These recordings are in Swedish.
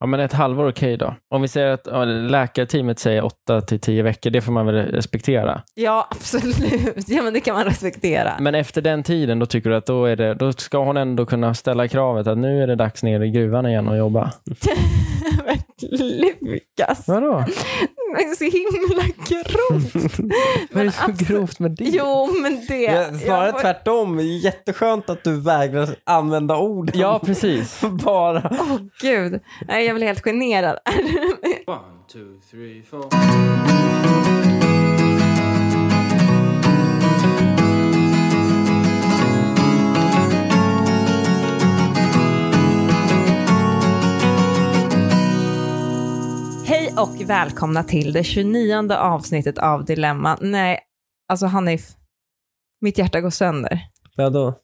Ja, men ett halvår okej då. Om vi säger att ja, läkarteamet säger 8 till 10 veckor, det får man väl respektera. Ja, absolut. Ja, men det kan man respektera. Men efter den tiden, då tycker du att då, är det, då ska hon ändå kunna ställa kravet att nu är det dags ner i gruvan igen och jobba? Men Lukas, Vadå? det är så himla grovt. Vad är det så absolut- grovt med det? Jo, men det... Ja, snarare jag får- tvärtom. Jätteskönt att du vägrar använda orden. Ja, precis. Bara. Åh, gud. Nej, jag blir helt generad. One, two, three, four. Hej och välkomna till det 29 avsnittet av Dilemma. Nej, alltså Hanif, mitt hjärta går sönder. Vadå?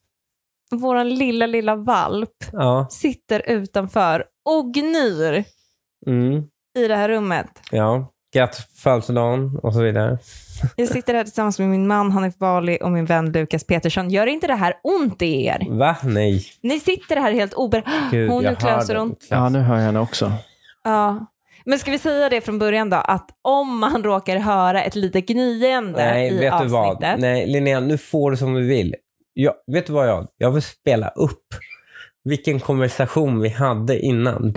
Vår lilla, lilla valp Ja. sitter utanför och gnyr Mm. i det här rummet. Ja. Grattis på födelsedagen och så vidare. Jag sitter här tillsammans med min man Hanif Bali och min vän Lukas Petersson. Gör inte det här ont i er? Va? Nej. Ni sitter här helt ober... Gud, Hon jag och klöser hör ont. det. Ja, nu hör jag henne också. Ja. Men ska vi säga det från början då, att om man råkar höra ett litet gnyende Nej, i vet du avsnittet. vad? Nej, Linnea, nu får du som du vill. Jag, vet du vad jag Jag vill spela upp vilken konversation vi hade innan.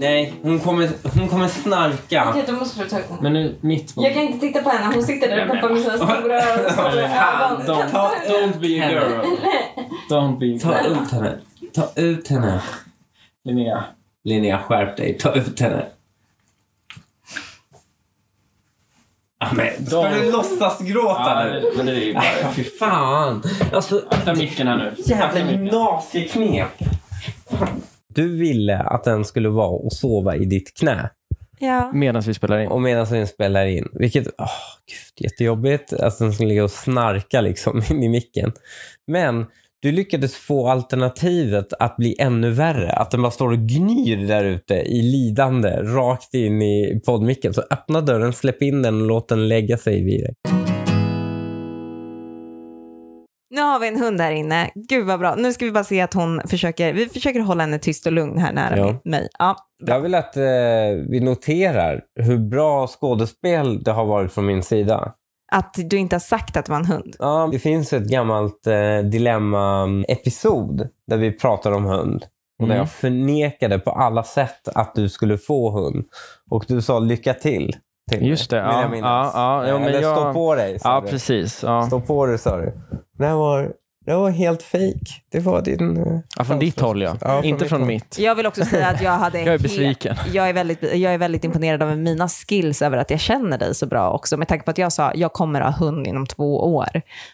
Nej, hon kommer, hon kommer snarka. då måste du ta igång. Men nu, mitt Jag kan inte titta på henne, hon sitter där uppe med sina stora ögon. Don't be a girl. Don't be a Ta ut henne. Ta ut henne. Linnea. Linnea, skärp dig. Ta ut henne. Ah, men, ska De- du låtsas gråta nu? men det är ju Nej, fy fan. Alltså, Akta micken här nu. jävla gymnasieknep. Du ville att den skulle vara och sova i ditt knä. Ja. Medan vi spelar in. Och medan den spelar in. Vilket, åh, gud, jättejobbigt att den skulle ligga och snarka liksom in i micken. Men du lyckades få alternativet att bli ännu värre. Att den bara står och gnyr där ute i lidande rakt in i poddmicken. Så öppna dörren, släpp in den och låt den lägga sig vid dig. Nu har vi en hund här inne. Gud vad bra. Nu ska vi bara se att hon försöker, vi försöker hålla henne tyst och lugn här nära Ja. mig. Ja. Jag vill att eh, vi noterar hur bra skådespel det har varit från min sida. Att du inte har sagt att det var en hund. Ja, det finns ett gammalt eh, dilemma-episod där vi pratar om hund. Och där Mm. jag förnekade på alla sätt att du skulle få hund. Och du sa lycka till. till mig, Just det. vill jag Ja, minnas. Eh, ja, ja, ja, Eller men stå jag... på dig, sa Ja, du. precis. Ja. Stå på dig, sa du. Det här var, det här var helt fejk. Det var din... eh, Ja, från ditt håll, ja. Ja, från Inte mitt från håll. mitt. Jag vill också säga att jag hade en Jag är helt- besviken. Jag är, väldigt, jag är väldigt imponerad av mina skills över att jag känner dig så bra också. Med tanke på att jag sa jag kommer ha hund inom två år.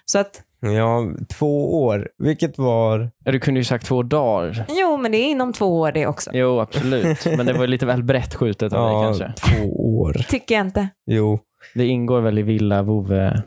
Så att, Ja, två år. Vilket var... Ja, Du kunde ju sagt två dagar. jo men det är inom två år det också. Jo, absolut. Men det var ju lite väl brett skjutet av dig kanske. två år. Tycker jag inte. Jo. Det ingår väl i villa vove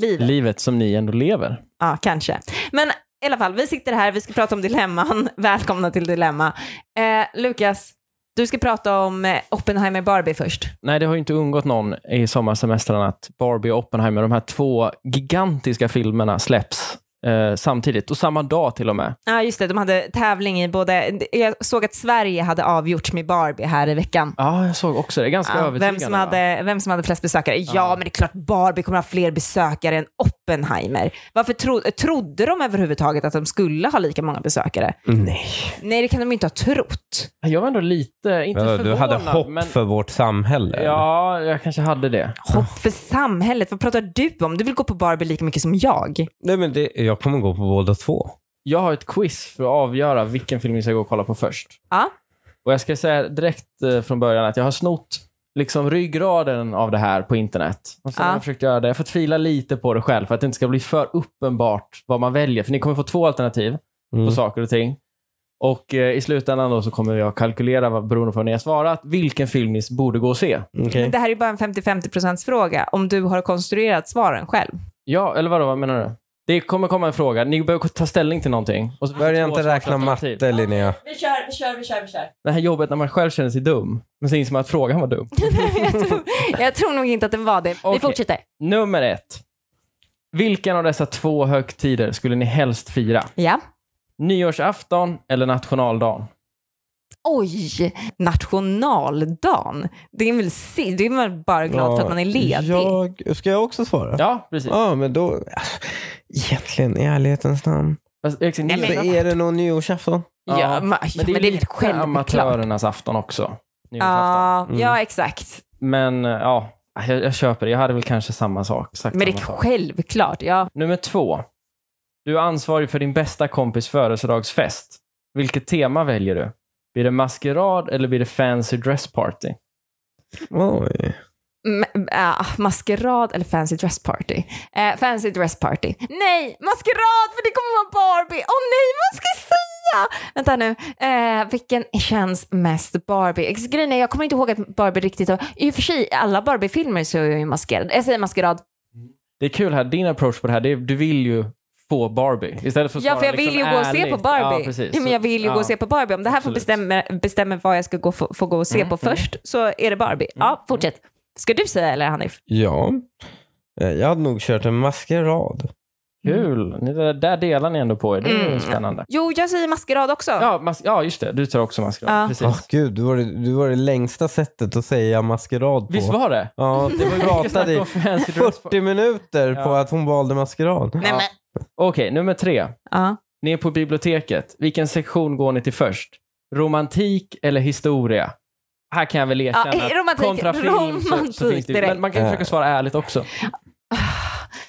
Livet. livet som ni ändå lever. Ja, kanske. Men i alla fall, vi sitter här, vi ska prata om dilemman. Välkomna till Dilemma. Eh, Lukas, du ska prata om eh, Oppenheimer Barbie först. Nej, det har ju inte undgått någon i sommarsemestern att Barbie och Oppenheimer, de här två gigantiska filmerna släpps eh, samtidigt och samma dag till och med. Ja, just det, de hade tävling i både... Jag såg att Sverige hade avgjorts med Barbie här i veckan. Ja, jag såg också det. Ganska Ja, övertygande. vem, som va? hade, vem som hade flest besökare? Ja, men det är klart Barbie kommer ha fler besökare än Oppenheimer. Varför tro, trodde de överhuvudtaget att de skulle ha lika många besökare? Nej. Nej, det kan de inte ha trott. Jag var ändå lite, inte förvånad, Du hade hopp men... för vårt samhälle. Ja, jag kanske hade det. Hopp för samhället, vad pratar du om? Du vill gå på Barbie lika mycket som jag. Nej, men det, jag kommer gå på båda två. Jag har ett quiz för att avgöra vilken film vi ska gå och kolla på först. Ja. Och Jag ska säga direkt eh, från början att jag har snott liksom ryggraden av det här på internet. Och sen Ja. har jag försökt göra det. Jag får tvila lite på det själv för att det inte ska bli för uppenbart vad man väljer. För ni kommer få två alternativ Mm. på saker och ting. Och eh, i slutändan då så kommer jag kalkylera, vad, beroende på vad ni har svarat, vilken film ni borde gå och se. Okej. Men det här är ju bara en 50-50 fråga om du har konstruerat svaren själv. Ja, eller vadå, vad menar du? Det kommer komma en fråga. Ni behöver ta ställning till någonting. Och så Börja två inte räkna svarsalternativ. matte, Linnea. Vi kör, vi kör, vi kör, vi kör. Det här jobbet när man själv känner sig dum, men så inser man att frågan var dum. jag, tror, jag tror nog inte att den var det. Okej. Vi fortsätter. Nummer ett. Vilken av dessa två högtider skulle ni helst fira? Ja. Nyårsafton eller nationaldagen? Oj, nationaldagen. Det är väl, si- det är väl bara glad för att man är ledig. Jag, ska jag också svara? Ja, precis. Ja, men då... alltså, Egentligen, i ärlighetens namn. Fast Eriksson, Nej, ni- men- Så är det någon nyårsafton? Ja, men, ja, men det är väl lite självklart. amatörernas afton också. nyårsafton. Ja, Mm. ja, exakt. Men eh, ja, jag, jag köper det. Jag hade väl kanske samma sak. Exakt Men det är samma sak. självklart. Ja. Nummer två. Du är ansvarig för din bästa kompis födelsedagsfest. Vilket tema väljer du? Blir det maskerad eller blir det fancy dress party? Oj. M- ah, maskerad eller fancy dress party? Eh, fancy dress party. Nej, maskerad för det kommer vara Barbie. Åh nej, vad ska jag säga? Vänta nu, eh, vilken känns mest Barbie? Ex- Grejen är, jag kommer inte ihåg att Barbie riktigt har... I och för sig, i alla Barbie-filmer så är jag ju maskerad. Jag säger maskerad. Det är kul här, din approach på det här, det är, du vill ju få Barbie. Istället för att Ja, svara för jag vill liksom ju gå och se ärligt. på Barbie. Ja, precis. Ja, men jag vill ju gå och Ja. se på Barbie. Om det här får Absolut. bestämma, bestämma vad jag ska gå, få, få gå och se Mm, på mm. först så är det Barbie. Ja, fortsätt. Ska du säga eller Hanif? Ja. Eh, Jag hade nog kört en maskerad. Kul! Ni, det där delar ni ändå på er. Det är Mm. spännande. Jo, jag säger maskerad också. Ja, mas- ja, just det. Du tar också maskerad. Ja. Precis. Åh Ah, gud, du var, det, du var det längsta sättet att säga maskerad på. Visst var det? Ja, Det var ju mycket snack pratade i om fancy dress party. 40 minuter Ja. på att hon valde maskerad. Nej, Ja. men. Okej, nummer tre. Ja. Ni är på biblioteket. Vilken sektion går ni till först? Romantik eller historia? Här kan jag väl erkänna Ja, att romantik- kontra film så, så romantik finns det ju- direkt. Men man kan Ja. försöka svara ärligt också.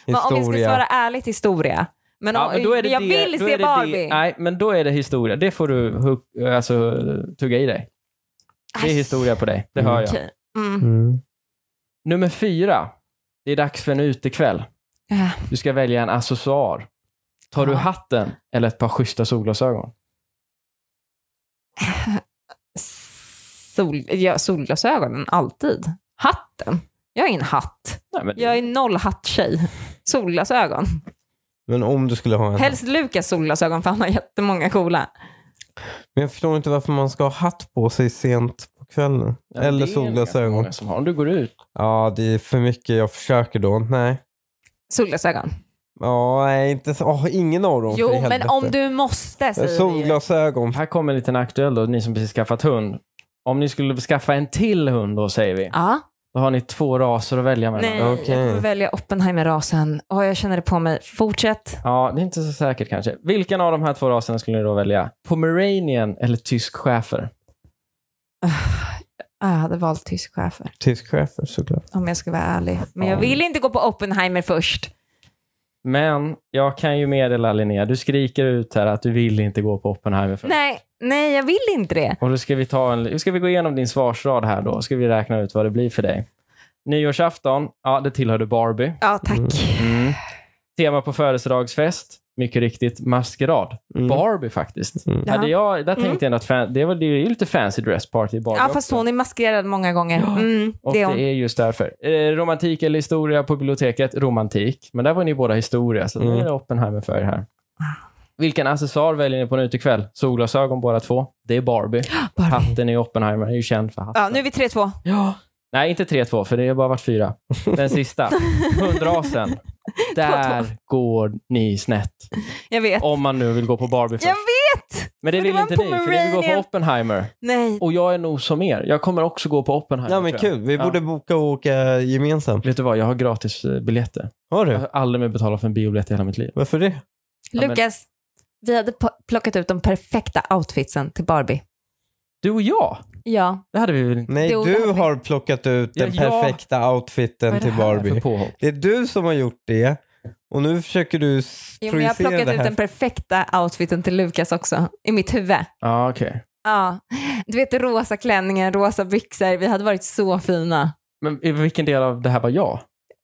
Men om jag ska Historia. svara ärligt historia. Men, Ja, om, men då är det jag det- vill då se är det Barbie. Det, nej, men då är det historia. Det får du hu- alltså, tugga i dig. Det är historia på dig. Det hör jag. Okej. Mm. Mm. Nummer fyra. Det är dags för en utekväll. Ja. Du ska välja en accessoar. Tar du Ja. hatten eller ett par schyssta solglasögon? Sol, ja, solglasögonen, alltid. Hatten. Jag har ingen hatt. Nej, men det- Jag är noll hatt-tjej. Solglasögon. Mm. Men om du skulle ha en... Helst Lukas solglasögon för han har jättemånga coola. Men jag förstår inte varför man ska ha hatt på sig sent på kvällen. Ja, men Eller det är ganska solglasögon. många Som har. Om du går ut. Ja, det är för mycket jag försöker då. Nej. Solglasögon. Ja, nej, inte så. Åh, ingen av dem. för i Jo, men helvete. om du måste säger vi. Solglasögon. Här kommer en liten aktuell då, ni som precis skaffat hund. Om ni skulle skaffa en till hund då, säger vi. Ja. Då har ni två raser att välja mellan. Nej, Okej. jag får välja Oppenheimer-rasen. Åh, jag känner det på mig. Fortsätt. Ja, det är inte så säkert kanske. Vilken av de här två raserna skulle ni då välja? Pomeranian eller tysk schäfer? Ah, Jag hade valt tysk schäfer. Tysk chefer såklart. om jag ska vara ärlig. Men jag Ja. vill inte gå på Oppenheimer först. Men jag kan ju meddela Linnea, du skriker ut här att du vill inte gå på Oppenheimer först. Nej, nej, jag vill inte det. Och då ska vi, ta en, nu ska vi gå igenom din svarsrad här då. Ska vi räkna ut vad det blir för dig. Nyårsafton, ja det tillhörde Barbie. Ja, tack. Mm. Tema på födelsedagsfest, mycket riktigt maskerad. Mm. Barbie faktiskt. Mm. Hade jag, där tänkte Mm. jag ändå att fan, det, var, det är ju lite fancy dress party i Barbie Ja, fast också. hon är maskerad många gånger. Mm, Och det det är hon. är just därför. Eh, romantik eller historia på biblioteket? Romantik. Men där var ni båda historia, så nu Mm. är det Oppenheimer för er här. Vilken accessoar väljer ni på en utekväll? Solglasögon båda två. Det är Barbie. Barbie. Hatten är Oppenheimer, är ju känd för hatten. Ja, nu är vi 3-2. Nej, inte 3-2, för det har bara varit fyra. Den sista, hundrasen. Där går ni snett. Jag vet. Om man nu vill gå på Barbie först. Jag vet! Men det för det vill var en inte ni, för ni vill gå på Pomeranian. Oppenheimer. Nej. Och jag är nog som er. Jag kommer också gå på Oppenheimer. Ja, men tror jag. kul. Vi Ja. borde boka och åka gemensamt. Vet du vad, jag har gratis eh, biljetter. Har Jag du? har aldrig mer betalat för en biobiljett i hela mitt liv. Varför det? Ja, men- Lukas, vi hade po- plockat ut de perfekta outfitsen till Barbie. Du och jag? Ja. Det hade vi väl inte? Nej, Jo, det har du vi. har plockat ut Ja, den jag- perfekta outfiten till För Barbie. påhopp? Det är du som har gjort det. Och nu försöker du s- Jo, men jag har projicera plockat det ut här. den perfekta outfiten till Lukas också, i mitt huvud. Ja, okej. Ja. Du vet, rosa klänningen, rosa byxor. Vi hade varit så fina. Men i vilken del av det här var jag?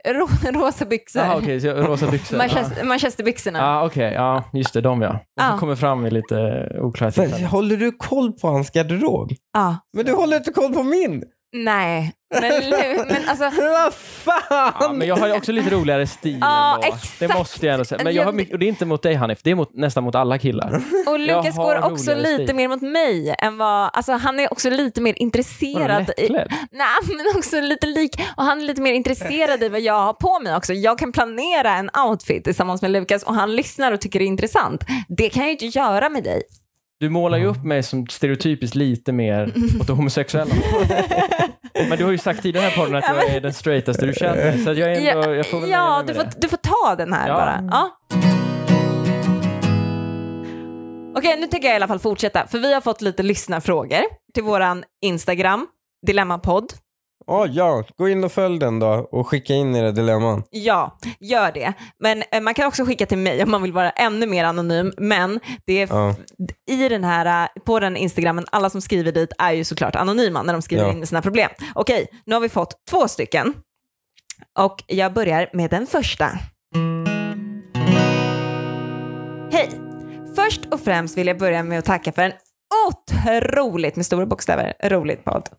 Ro- rosa byxor. Jaha, okej. så jag- rosa byxor. Manchester, Manchesterbyxorna. Ja, ah, okej. Ja, just det. De ja. De som Ja. kommer fram i lite eh, oklarhet. För, håller du koll på hans garderob? Ja. Men du håller inte koll på min! Nej, men, nu- men alltså, Vad fan! Ja, men jag har ju också lite roligare stil Ja, ändå. Det exakt. måste jag ändå säga. Men jag har mycket, och det är inte mot dig Hanif, det är mot, nästan mot alla killar. och Lukas har går också roligare lite stil. mer mot mig än vad, alltså han är också lite mer Var du intresserad i, lättklädd? nej men också lite lik, och han är lite mer intresserad i vad jag har på mig också. Jag kan planera en outfit tillsammans med Lukas och han lyssnar och tycker det är intressant. Det kan jag ju inte göra med dig. Du målar ju upp mig som stereotypiskt lite mer åt det homosexuella Men du har ju sagt tidigare i den här podden att jag är den straightaste du känner. Så att jag, är ändå, jag får väl nöja ja mig du, med får, det. du får ta den här Ja. bara. Ja. Okej, nu tänker jag i alla fall fortsätta, för vi har fått lite lyssnarfrågor till våran Instagram, Dilemmapodd. Ja, ja. Gå in och följ den då och skicka in era dilemman. Ja, gör det. Men eh, man kan också skicka till mig om man vill vara ännu mer anonym. Men det är f- Ja. i den här, eh, på den Instagrammen, alla som skriver dit är ju såklart anonyma när de skriver Ja. in sina problem. Okej, nu har vi fått två stycken. Och jag börjar med den första. Hej! Först och främst vill jag börja med att tacka för en otroligt, med stora bokstäver, roligt podd.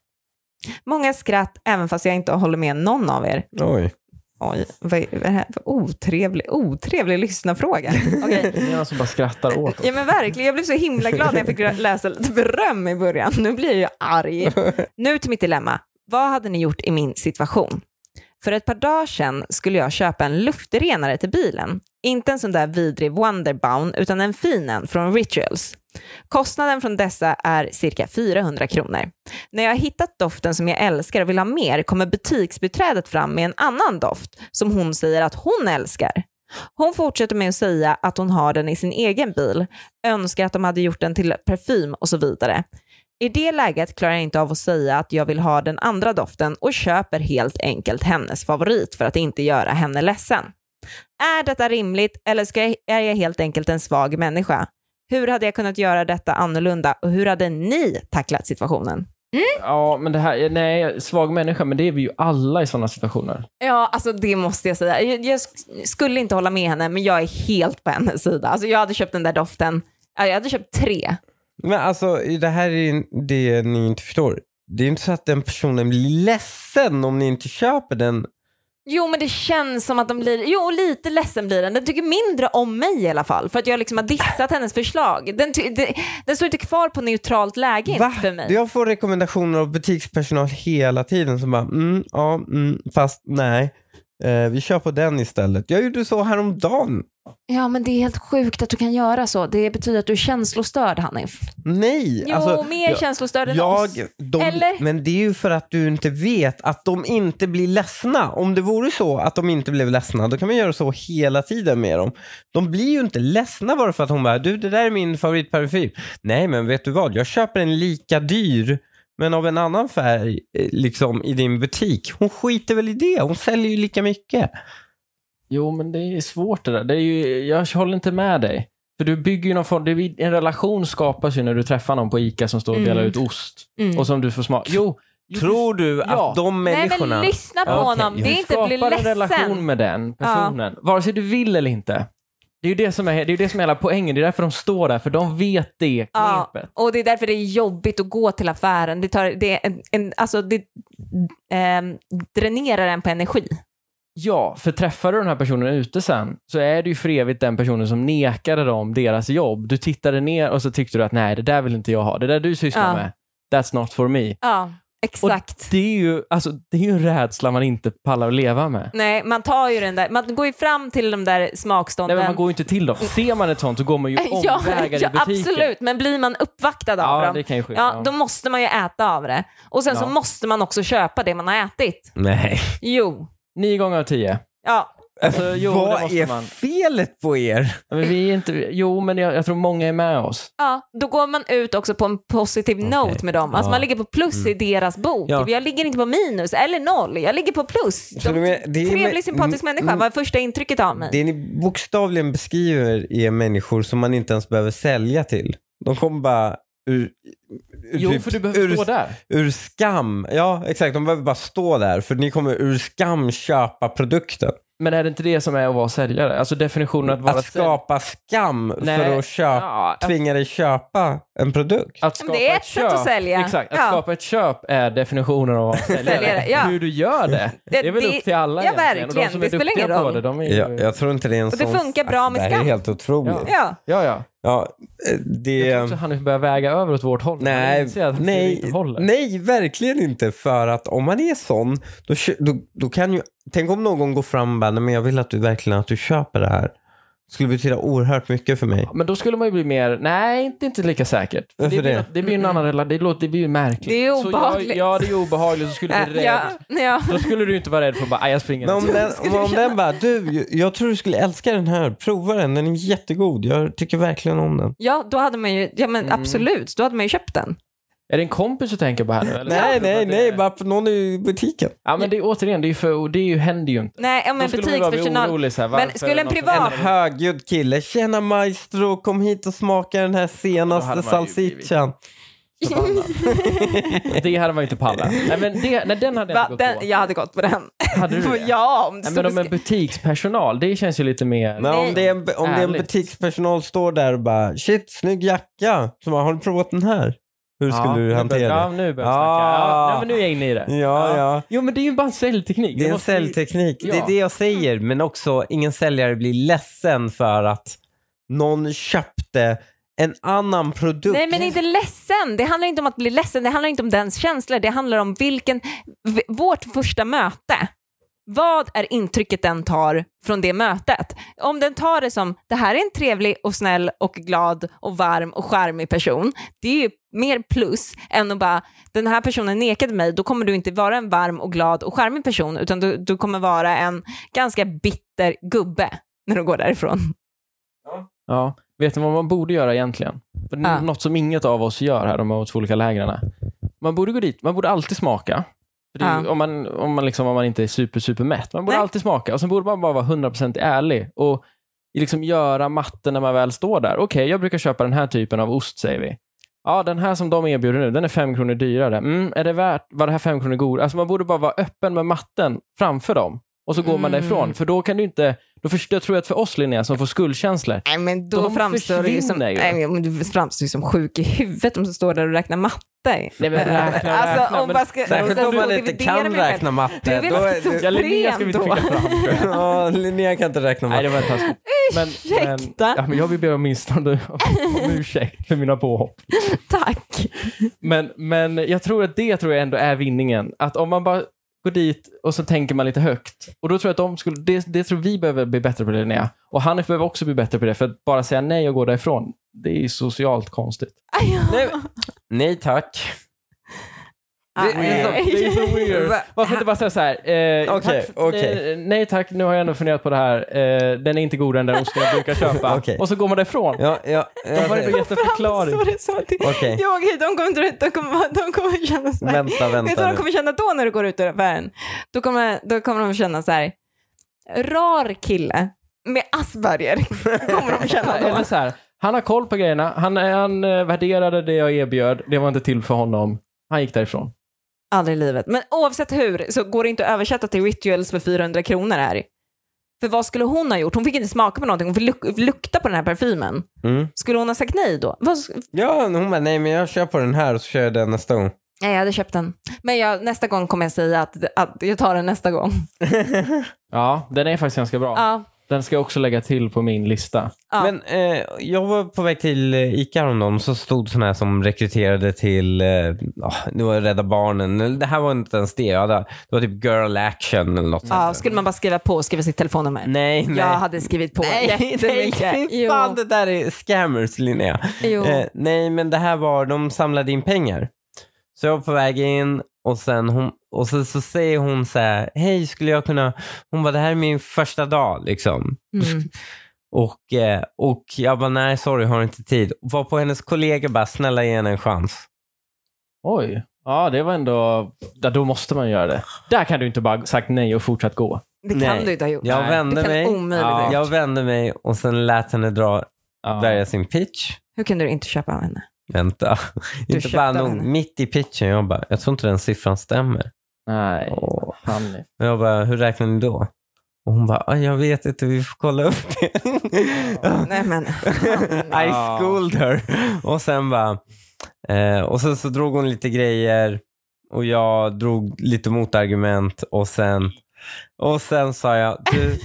Många skratt även fast jag inte håller med någon av er. Oj. Oj, vad är vad är det här för otrevlig, otrevlig lyssnarfråga? Okej. Det är någon som bara skrattar åt oss. Ja men verkligen, jag blev så himla glad när jag fick läsa lite beröm i början. Nu blir jag ju arg. Nu till mitt dilemma. Vad hade ni gjort i min situation? För ett par dagar sedan skulle jag köpa en luftrenare till bilen. Inte en sån där vidrig Wonderbound, utan en fin en från Rituals. Kostnaden från dessa är cirka 400 kronor. När jag har hittat doften som jag älskar och vill ha mer kommer butiksbiträdet fram med en annan doft som hon säger att hon älskar. Hon fortsätter med att säga att hon har den i sin egen bil, önskar att de hade gjort den till parfym och så vidare. I det läget klarar jag inte av att säga att jag vill ha den andra doften och köper helt enkelt hennes favorit för att inte göra henne ledsen. Är detta rimligt eller ska jag, är jag helt enkelt en svag människa? Hur hade jag kunnat göra detta annorlunda och hur hade ni tacklat situationen? Ja, men det här, nej, svag människa, men det är vi ju alla i sådana situationer. Ja, alltså det måste jag säga. Jag, jag sk- skulle inte hålla med henne, men jag är helt på hennes sida. Alltså jag hade köpt den där doften. Ja, Jag hade köpt tre. Men alltså, det här är ju det ni inte förstår. Det är ju inte så att den personen blir ledsen om ni inte köper den. Jo, men det känns som att de blir... Jo, och lite ledsen blir den. Den tycker mindre om mig i alla fall, för att jag liksom har dissat hennes förslag. Den, ty- det- den står inte kvar på neutralt läge Va? för mig. Jag får rekommendationer av butikspersonal hela tiden som bara, mm, ja, mm, fast nej. Eh, vi kör på den istället. Jag gjorde så häromdagen. Ja, men det är helt sjukt att du kan göra så. Det betyder att du är känslostörd, Hanif. Nej! Jo, alltså, mer jag- känslostörd än jag, oss. de, Eller? Men det är ju för att du inte vet att de inte blir ledsna. Om det vore så att de inte blev ledsna, då kan man göra så hela tiden med dem. De blir ju inte ledsna bara för att hon bara, du det där är min favoritparfym. Nej, men vet du vad? Jag köper en lika dyr, men av en annan färg, eh, liksom i din butik. Hon skiter väl i det? Hon säljer ju lika mycket. Jo, men det är svårt det där. Det är ju, jag håller inte med dig. För du bygger ju någon form, det är, ju- en relation skapas ju när du träffar någon på ICA som står och delar Mm. ut ost. Mm. Och som du får smaka. Jo, jo, Tror du att Ja. de Nej, människorna... men lyssna på Ja, okej. honom. Jag Det är inte att bli skapar en relation ledsen. med den personen, vare sig du vill eller inte. Det är ju det som är, det är, ju det som är hela poängen. Det är därför de står där, för de vet det Ja, knepet. och det är därför det är jobbigt att gå till affären. Det, tar, det, är en, en, alltså det ehm, dränerar en på energi. Ja, för träffar du den här personen ute sen så är det ju för evigt den personen som nekade dem deras jobb. Du tittade ner och så tyckte du att nej, det där vill inte jag ha. Det där du sysslar Ja. med, that's not for me. Ja, exakt. Det är, ju, alltså, det är ju en rädsla man inte pallar att leva med. Nej, man tar ju den där, man går ju fram till de där Nej, smakstånden. men man går ju inte till dem. Ser man ett sånt så går man ju ja, omvägar ja, i butiken. absolut, men blir man uppvaktad av Ja, dem, det kan ju ske. ja, Ja, då måste man ju äta av det. Och sen så Ja. måste man också köpa det man har ätit. Nej. Jo, Nio gånger av tio. ja. Alltså, jo, det Äh, Vad måste är man. felet på er? Ja, Men vi är inte, jo, men jag, jag tror många är med oss. Ja, då går man ut också på en positiv note med dem. Alltså Ja. man ligger på plus Mm. i deras bok. Ja. Jag ligger inte på minus eller noll, jag ligger på plus. Så De, du menar- det är- trevlig, sympatisk Mm, människa var första intrycket av mig. Det ni bokstavligen beskriver är människor som man inte ens behöver sälja till. De kommer bara ur, ur, Jo, typ- för du behöver ur, stå där. ur skam. Ja, exakt. De behöver bara stå där för ni kommer ur skam köpa produkten. Men är det inte det som är att vara säljare? Alltså definitionen att vara Att skapa skam för Nej. att köpa, Ja, att, tvinga dig köpa en att produkt. Men skapa det är ett sätt köp, att sälja. Exakt, att Ja. skapa ett köp är definitionen av att vara säljare. Säljare, ja. Hur du gör det, det är väl det- upp till alla ja, egentligen. Och de verkligen. som Det är spelar duktiga ingen på roll. det, de är ju... Ja, jag tror inte det är en Och det sån... Alltså, funkar bra med Det här skam. är helt otroligt. Ja, Ja. ja, ja. eh, det... Jag tror också Hanif börjar väga över åt vårt håll. Han Nej, inser att han nej, inte håller. nej, verkligen inte. För att om man är sån, då, kö- då, då kan ju... Tänk om någon går fram och bara, "Nej, men jag vill att du verkligen att du köper det här. skulle betyda oerhört mycket för mig. Men då skulle man ju bli mer, nej, inte, inte lika säkert. För Varför det, blir det? något- det blir ju en annan relation, det, låter- det blir ju märkligt. Det är Så obehagligt. Jag, ja, det är obehagligt. Så skulle du bli rädd. ja, ja. Då skulle du inte vara rädd för att bara, "Aj, jag springer. Men om inte." den, om den bara, du, jag tror du skulle älska den här. Prova den, den är jättegod. Jag tycker verkligen om den. ja, då hade man ju, ja men Mm. absolut, då hade man ju köpt den. Är det en kompis du tänker på här nu? Eller? Nej, nej, Det- nej, bara för någon i butiken. Ja, men det är återigen, det, är ju för, och det är ju, händer ju inte. Nej, ja, men Då skulle man ju bara bli butikspersonal. orolig så här, Men varför skulle en någon- privat- En högljudd kille. Tjena maestro, kom hit och smaka den Då här hade senaste man ju blivit- salsichan. förbannad. Det hade man ju inte pallat. Nej, men det, nej, den hade jag Va, inte gått den, på. jag hade gått på den. Hade du det? ja, om det Nej, stod men om en beskrivet. butikspersonal, det känns ju lite mer... Men om det är en, om det är en Ärligt. butikspersonal står där och bara shit, snygg jacka. Så bara, har du provat den här? Hur skulle Ja, du nu börjar- hantera Ja, det? nu börjar jag Ah. snacka. Ja, nej, men nu är jag inne i det. Ja, ja. Jo, men det är ju bara en säljteknik. Det är en måste ju- säljteknik. Det Ja. är det jag säger. Men också, ingen säljare blir ledsen för att någon köpte en annan produkt. Nej, men inte ledsen. Det handlar inte om att bli ledsen. Det handlar inte om dens känslor. Det handlar om vilken, v- vårt första möte. Vad är intrycket den tar från det mötet? Om den tar det som, det här är en trevlig och snäll och glad och varm och charmig person. Det är ju mer plus än att bara, den här personen nekade mig, då kommer du inte vara en varm och glad och charmig person, utan du, du kommer vara en ganska bitter gubbe när du går därifrån. Ja. Vet ni vad man borde göra egentligen? För n- Ja. Något som inget av oss gör här, de här två olika lägren. Man borde gå dit, man borde alltid smaka. För det, är ju- Ja. om, man, om, man liksom, om man inte är super, super mätt. Man borde Nej. alltid smaka och sen borde man bara vara 100% ärlig och liksom göra matten när man väl står där. Okej, jag brukar köpa den här typen av ost, säger vi. Ja, den här som de erbjuder nu, den är fem kronor dyrare. Mm, är det värt, var det här fem kronor god? Alltså man borde bara vara öppen med matten framför dem och så går man Mm. därifrån. För då kan du inte, då förstår, jag tror att för oss Linnea som får skuldkänslor, Nej, men då De framstår du ju som, försvinner ju. nej, men du framstår ju som sjuk i huvudet om du står där och räknar matte. Nej, men räkna, alltså, räkna, om men- bara ska, Särskilt sen om så man inte dividera kan med Alltså, mig själv. räkna matte. Du är väl Då är inte så det- Ja, Linnea ska vi inte Fren då. skicka fram. Ja, Linnea kan inte räkna matte. Nej, det var taskigt. Men, men, Ursäkta. ja, men jag vill be åtminstone om, om ursäkt för mina påhopp. Tack. Men, men jag tror att det tror jag ändå är vinningen. Att om man bara går dit och så tänker man lite högt. Och då tror jag att de skulle, det, det tror vi behöver bli bättre på det Linnea. Och Hanif behöver också bli bättre på det. För att bara säga nej och gå därifrån, det är ju socialt konstigt. Aj, ja. Nej, nej tack. Aj, det är så- aj, det är så weird. Va- Varför inte bara säga så här. Eh, Okej, tack för- okej. eh, nej tack, nu har jag ändå funderat på det här. Eh, den är inte god den där osten jag brukar köpa. Okej. Och så går man därifrån. Ja, ja, De har ju ja, gett en förklaring. Framstår det som att det- Okej. Ja, okej, de kommer inte runt, de kommer, de kommer känna så här. vänta, Vet du vad vänta. de nu. kommer känna då när du går ut ur affären? Då kommer, då kommer de känna så här, rar kille med Asperger kommer de känna då. Eller så här, han har koll på grejerna. Han, han eh, värderade det jag erbjöd. Det var inte till för honom. Han gick därifrån. Aldrig i livet. Men oavsett hur så går det inte att översätta till rituals för 400 kronor här. För vad skulle hon ha gjort? Hon fick inte smaka på någonting. Hon fick luk- lukta på den här parfymen. Mm. Skulle hon ha sagt nej då? Vad, sk- Ja, hon bara, nej men jag kör på den här och så kör jag den nästa gång. nej, jag hade köpt den. Men jag, nästa gång kommer jag säga att, att jag tar den nästa gång. Ja, den är faktiskt ganska bra. Ja. Den ska jag också lägga till på min lista. Ja. Men eh, jag var på väg till eh, ICA häromdagen så stod sådana här som rekryterade till, eh, ah, nu var det Rädda Barnen, Eller, det här var inte ens det, Jag hade- det var typ Girl Action eller något sånt ja, där. skulle man bara skriva på och skriva sitt telefonnummer? Nej, Mm, nej. Jag hade skrivit på jättemycket. fy Jo. fan det där är scammers Linnea. Jo. Eh, nej, men det här var, de samlade in pengar. Så jag var på väg in och sen hon, och så, så säger hon så här, hej skulle jag kunna, hon bara det här är min första dag liksom. Mm. Och, eh, och jag bara nej sorry har inte tid. Var på hennes kollega bara snälla ge henne en chans. Oj. Ja, det var ändå... Ja, då måste man göra det. Där kan du inte bara sagt nej och fortsatt gå. Det kan Nej. du inte ha gjort. Jag Nej, det vände kan mig. omöjligt Ja. ha gjort. Jag vände mig och sen lät henne dra, Ja. välja sin pitch. Hur kunde du inte köpa av henne? Vänta, inte köpte bara av nog. henne. Mitt i pitchen, jag bara, jag tror inte den siffran stämmer. Nej, Åh. Hanif. Och jag bara, hur räknar ni då? Och hon bara, "Ah, jag vet inte, vi får kolla upp det. Nej, men. I schooled her. Och sen bara, eh, och sen så drog hon lite grejer och jag drog lite motargument och sen, och sen sa jag, du,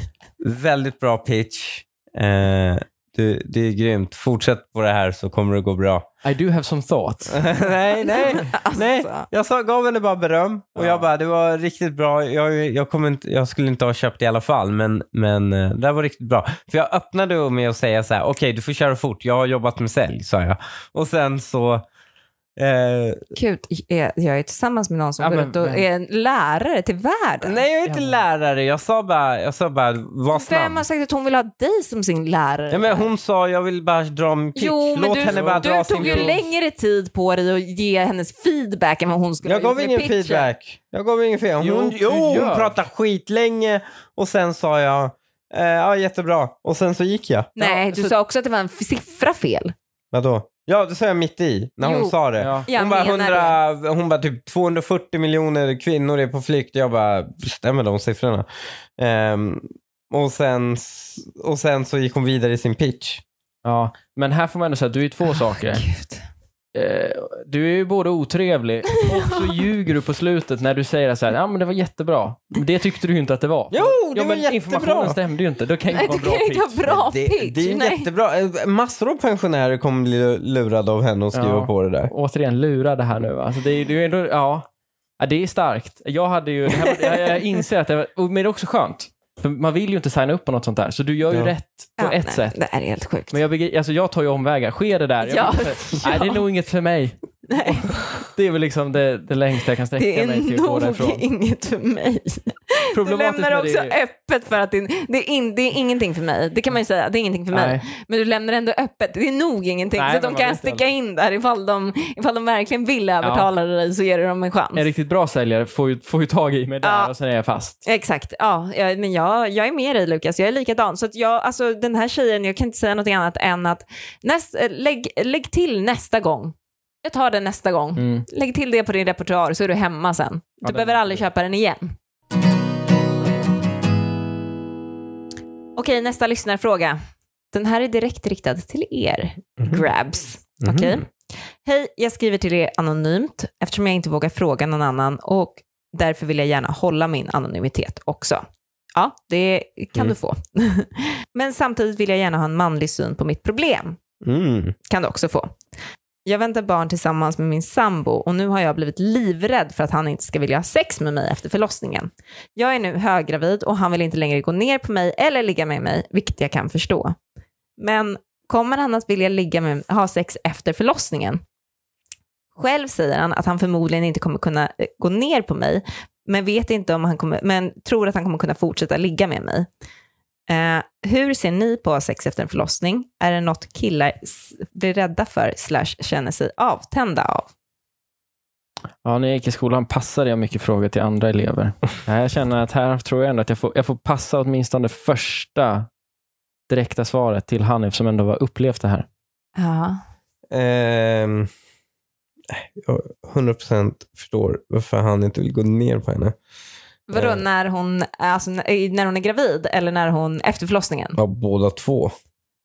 väldigt bra pitch. Eh, Du, det är grymt. Fortsätt på det här så kommer det gå bra. I do have some thoughts. nej, nej, Alltså. nej. Jag sa, gav henne bara beröm och Ja. jag bara, det var riktigt bra. Jag, jag, kommer inte, jag skulle inte ha köpt i alla fall, men, men eh, det här var riktigt bra. För jag öppnade med att säga så här, okej, du får köra fort. Jag har jobbat med sälj, sa jag. Och sen så... Eh, Gud, jag jag är tillsammans med någon som Ja, går men runt och vem? är en lärare till världen. nej, jag är inte Ja. lärare. Jag sa bara, jag sa bara var snabb. Vem har sagt att hon vill ha dig som sin lärare? Ja, men hon sa, jag vill bara dra min pitch. Jo, men Låt du, henne bara dra du tog sin ju pitch. längre tid på dig att ge hennes feedback än vad hon skulle Jag ha gjort gav med ingen pitchen. feedback. Jag gav ingen feedback. Jo, Hon, du jo, gör. hon pratade skitlänge och sen sa jag eh, ja, jättebra. Och sen så gick jag. Nej, Ja, du så- sa också att det var en f- siffra fel. Vadå? Ja, det sa jag mitt i när Jo. hon sa det. Ja. Jag Hon bara, menar det. 100, hon bara typ 240 miljoner kvinnor är på flykt. Jag bara, stämmer de siffrorna? Ehm, och, sen, s- och sen så gick hon vidare i sin pitch. Ja, men här får man ändå säga att du är två saker. Gud. Eh, Du är ju både otrevlig och så ljuger du på slutet när du säger så här, ja men det var jättebra. Men Det tyckte du ju inte att det var. Jo, det ja, var men jättebra. informationen stämde ju inte. Då kan ju Nej, inte det vara kan bra ju inte vara pitch. bra Det, pitch. det är ju Nej. jättebra. Eh, Massor av pensionärer kommer bli lurade av henne och skriva Ja. på det där. Återigen, lura det här nu. Alltså, det, är, det är ju ändå, ja. ja, det är starkt. Jag hade ju, det här, var- jag, jag inser att det var, och- men det är också skönt. För man vill ju inte signa upp på något sånt där, så du gör ju Ja. rätt på Ja, ett nej, sätt. Det här är helt sjukt. Men jag, begri- alltså, jag tar ju omvägar. Sker det där? Jag Ja, blir så här, Nej, det är nog inget för mig. Nej, Det är väl liksom det, det längsta jag kan det sträcka mig är till att gå nog därifrån. inget för mig. Du Problematiskt lämnar med också det är ju- öppet för att det är, det, är in, det är ingenting för mig. Det kan man ju säga, det är ingenting för mig. Nej. Men du lämnar ändå öppet, det är nog ingenting. Nej, så att men de man kan vet sticka aldrig. in där ifall de, ifall de verkligen vill övertala dig så ger du dem en chans. En riktigt bra säljare får ju, får ju tag i mig där Ja. och sen är jag fast. Exakt, ja, jag, men jag, jag är med dig Lukas, jag är likadan. Så att jag, alltså den här tjejen, jag kan inte säga något annat än att näst, eh, lägg, lägg till nästa gång. Jag tar den nästa gång. Mm. Lägg till det på din repertoar så är du hemma sen. Du den- behöver aldrig köpa den igen. Okej, nästa lyssnarfråga. Den här är direkt riktad till er, grabs. Mhm. Okej? Hej, jag skriver till er anonymt eftersom jag inte vågar fråga någon annan och därför vill jag gärna hålla min anonymitet också. Ja, det kan Mm. du få. Men samtidigt vill jag gärna ha en manlig syn på mitt problem Mm. kan du också få. Jag väntar barn tillsammans med min sambo och nu har jag blivit livrädd för att han inte ska vilja ha sex med mig efter förlossningen. Jag är nu höggravid och han vill inte längre gå ner på mig eller ligga med mig, vilket jag kan förstå. Men kommer han att vilja ligga med, ha sex efter förlossningen? Själv säger han att han förmodligen inte kommer kunna eh, gå ner på mig, men, vet inte om han kommer, men tror att han kommer kunna fortsätta ligga med mig. Eh, hur ser ni på sex efter en förlossning? Är det något killar s- blir rädda för slash känner sig avtända av? Ja, när jag gick i skolan passade jag mycket frågor till andra elever. Nej, Jag känner att här tror jag ändå att jag får, jag får passa åtminstone första direkta svaret till Hanif som ändå har upplevt det här. Ja. Ehm, jag 100% förstår varför han inte vill gå ner på henne. Vadå, Eh. när, hon, alltså, när när hon är gravid eller när hon efter förlossningen? Ja, båda två.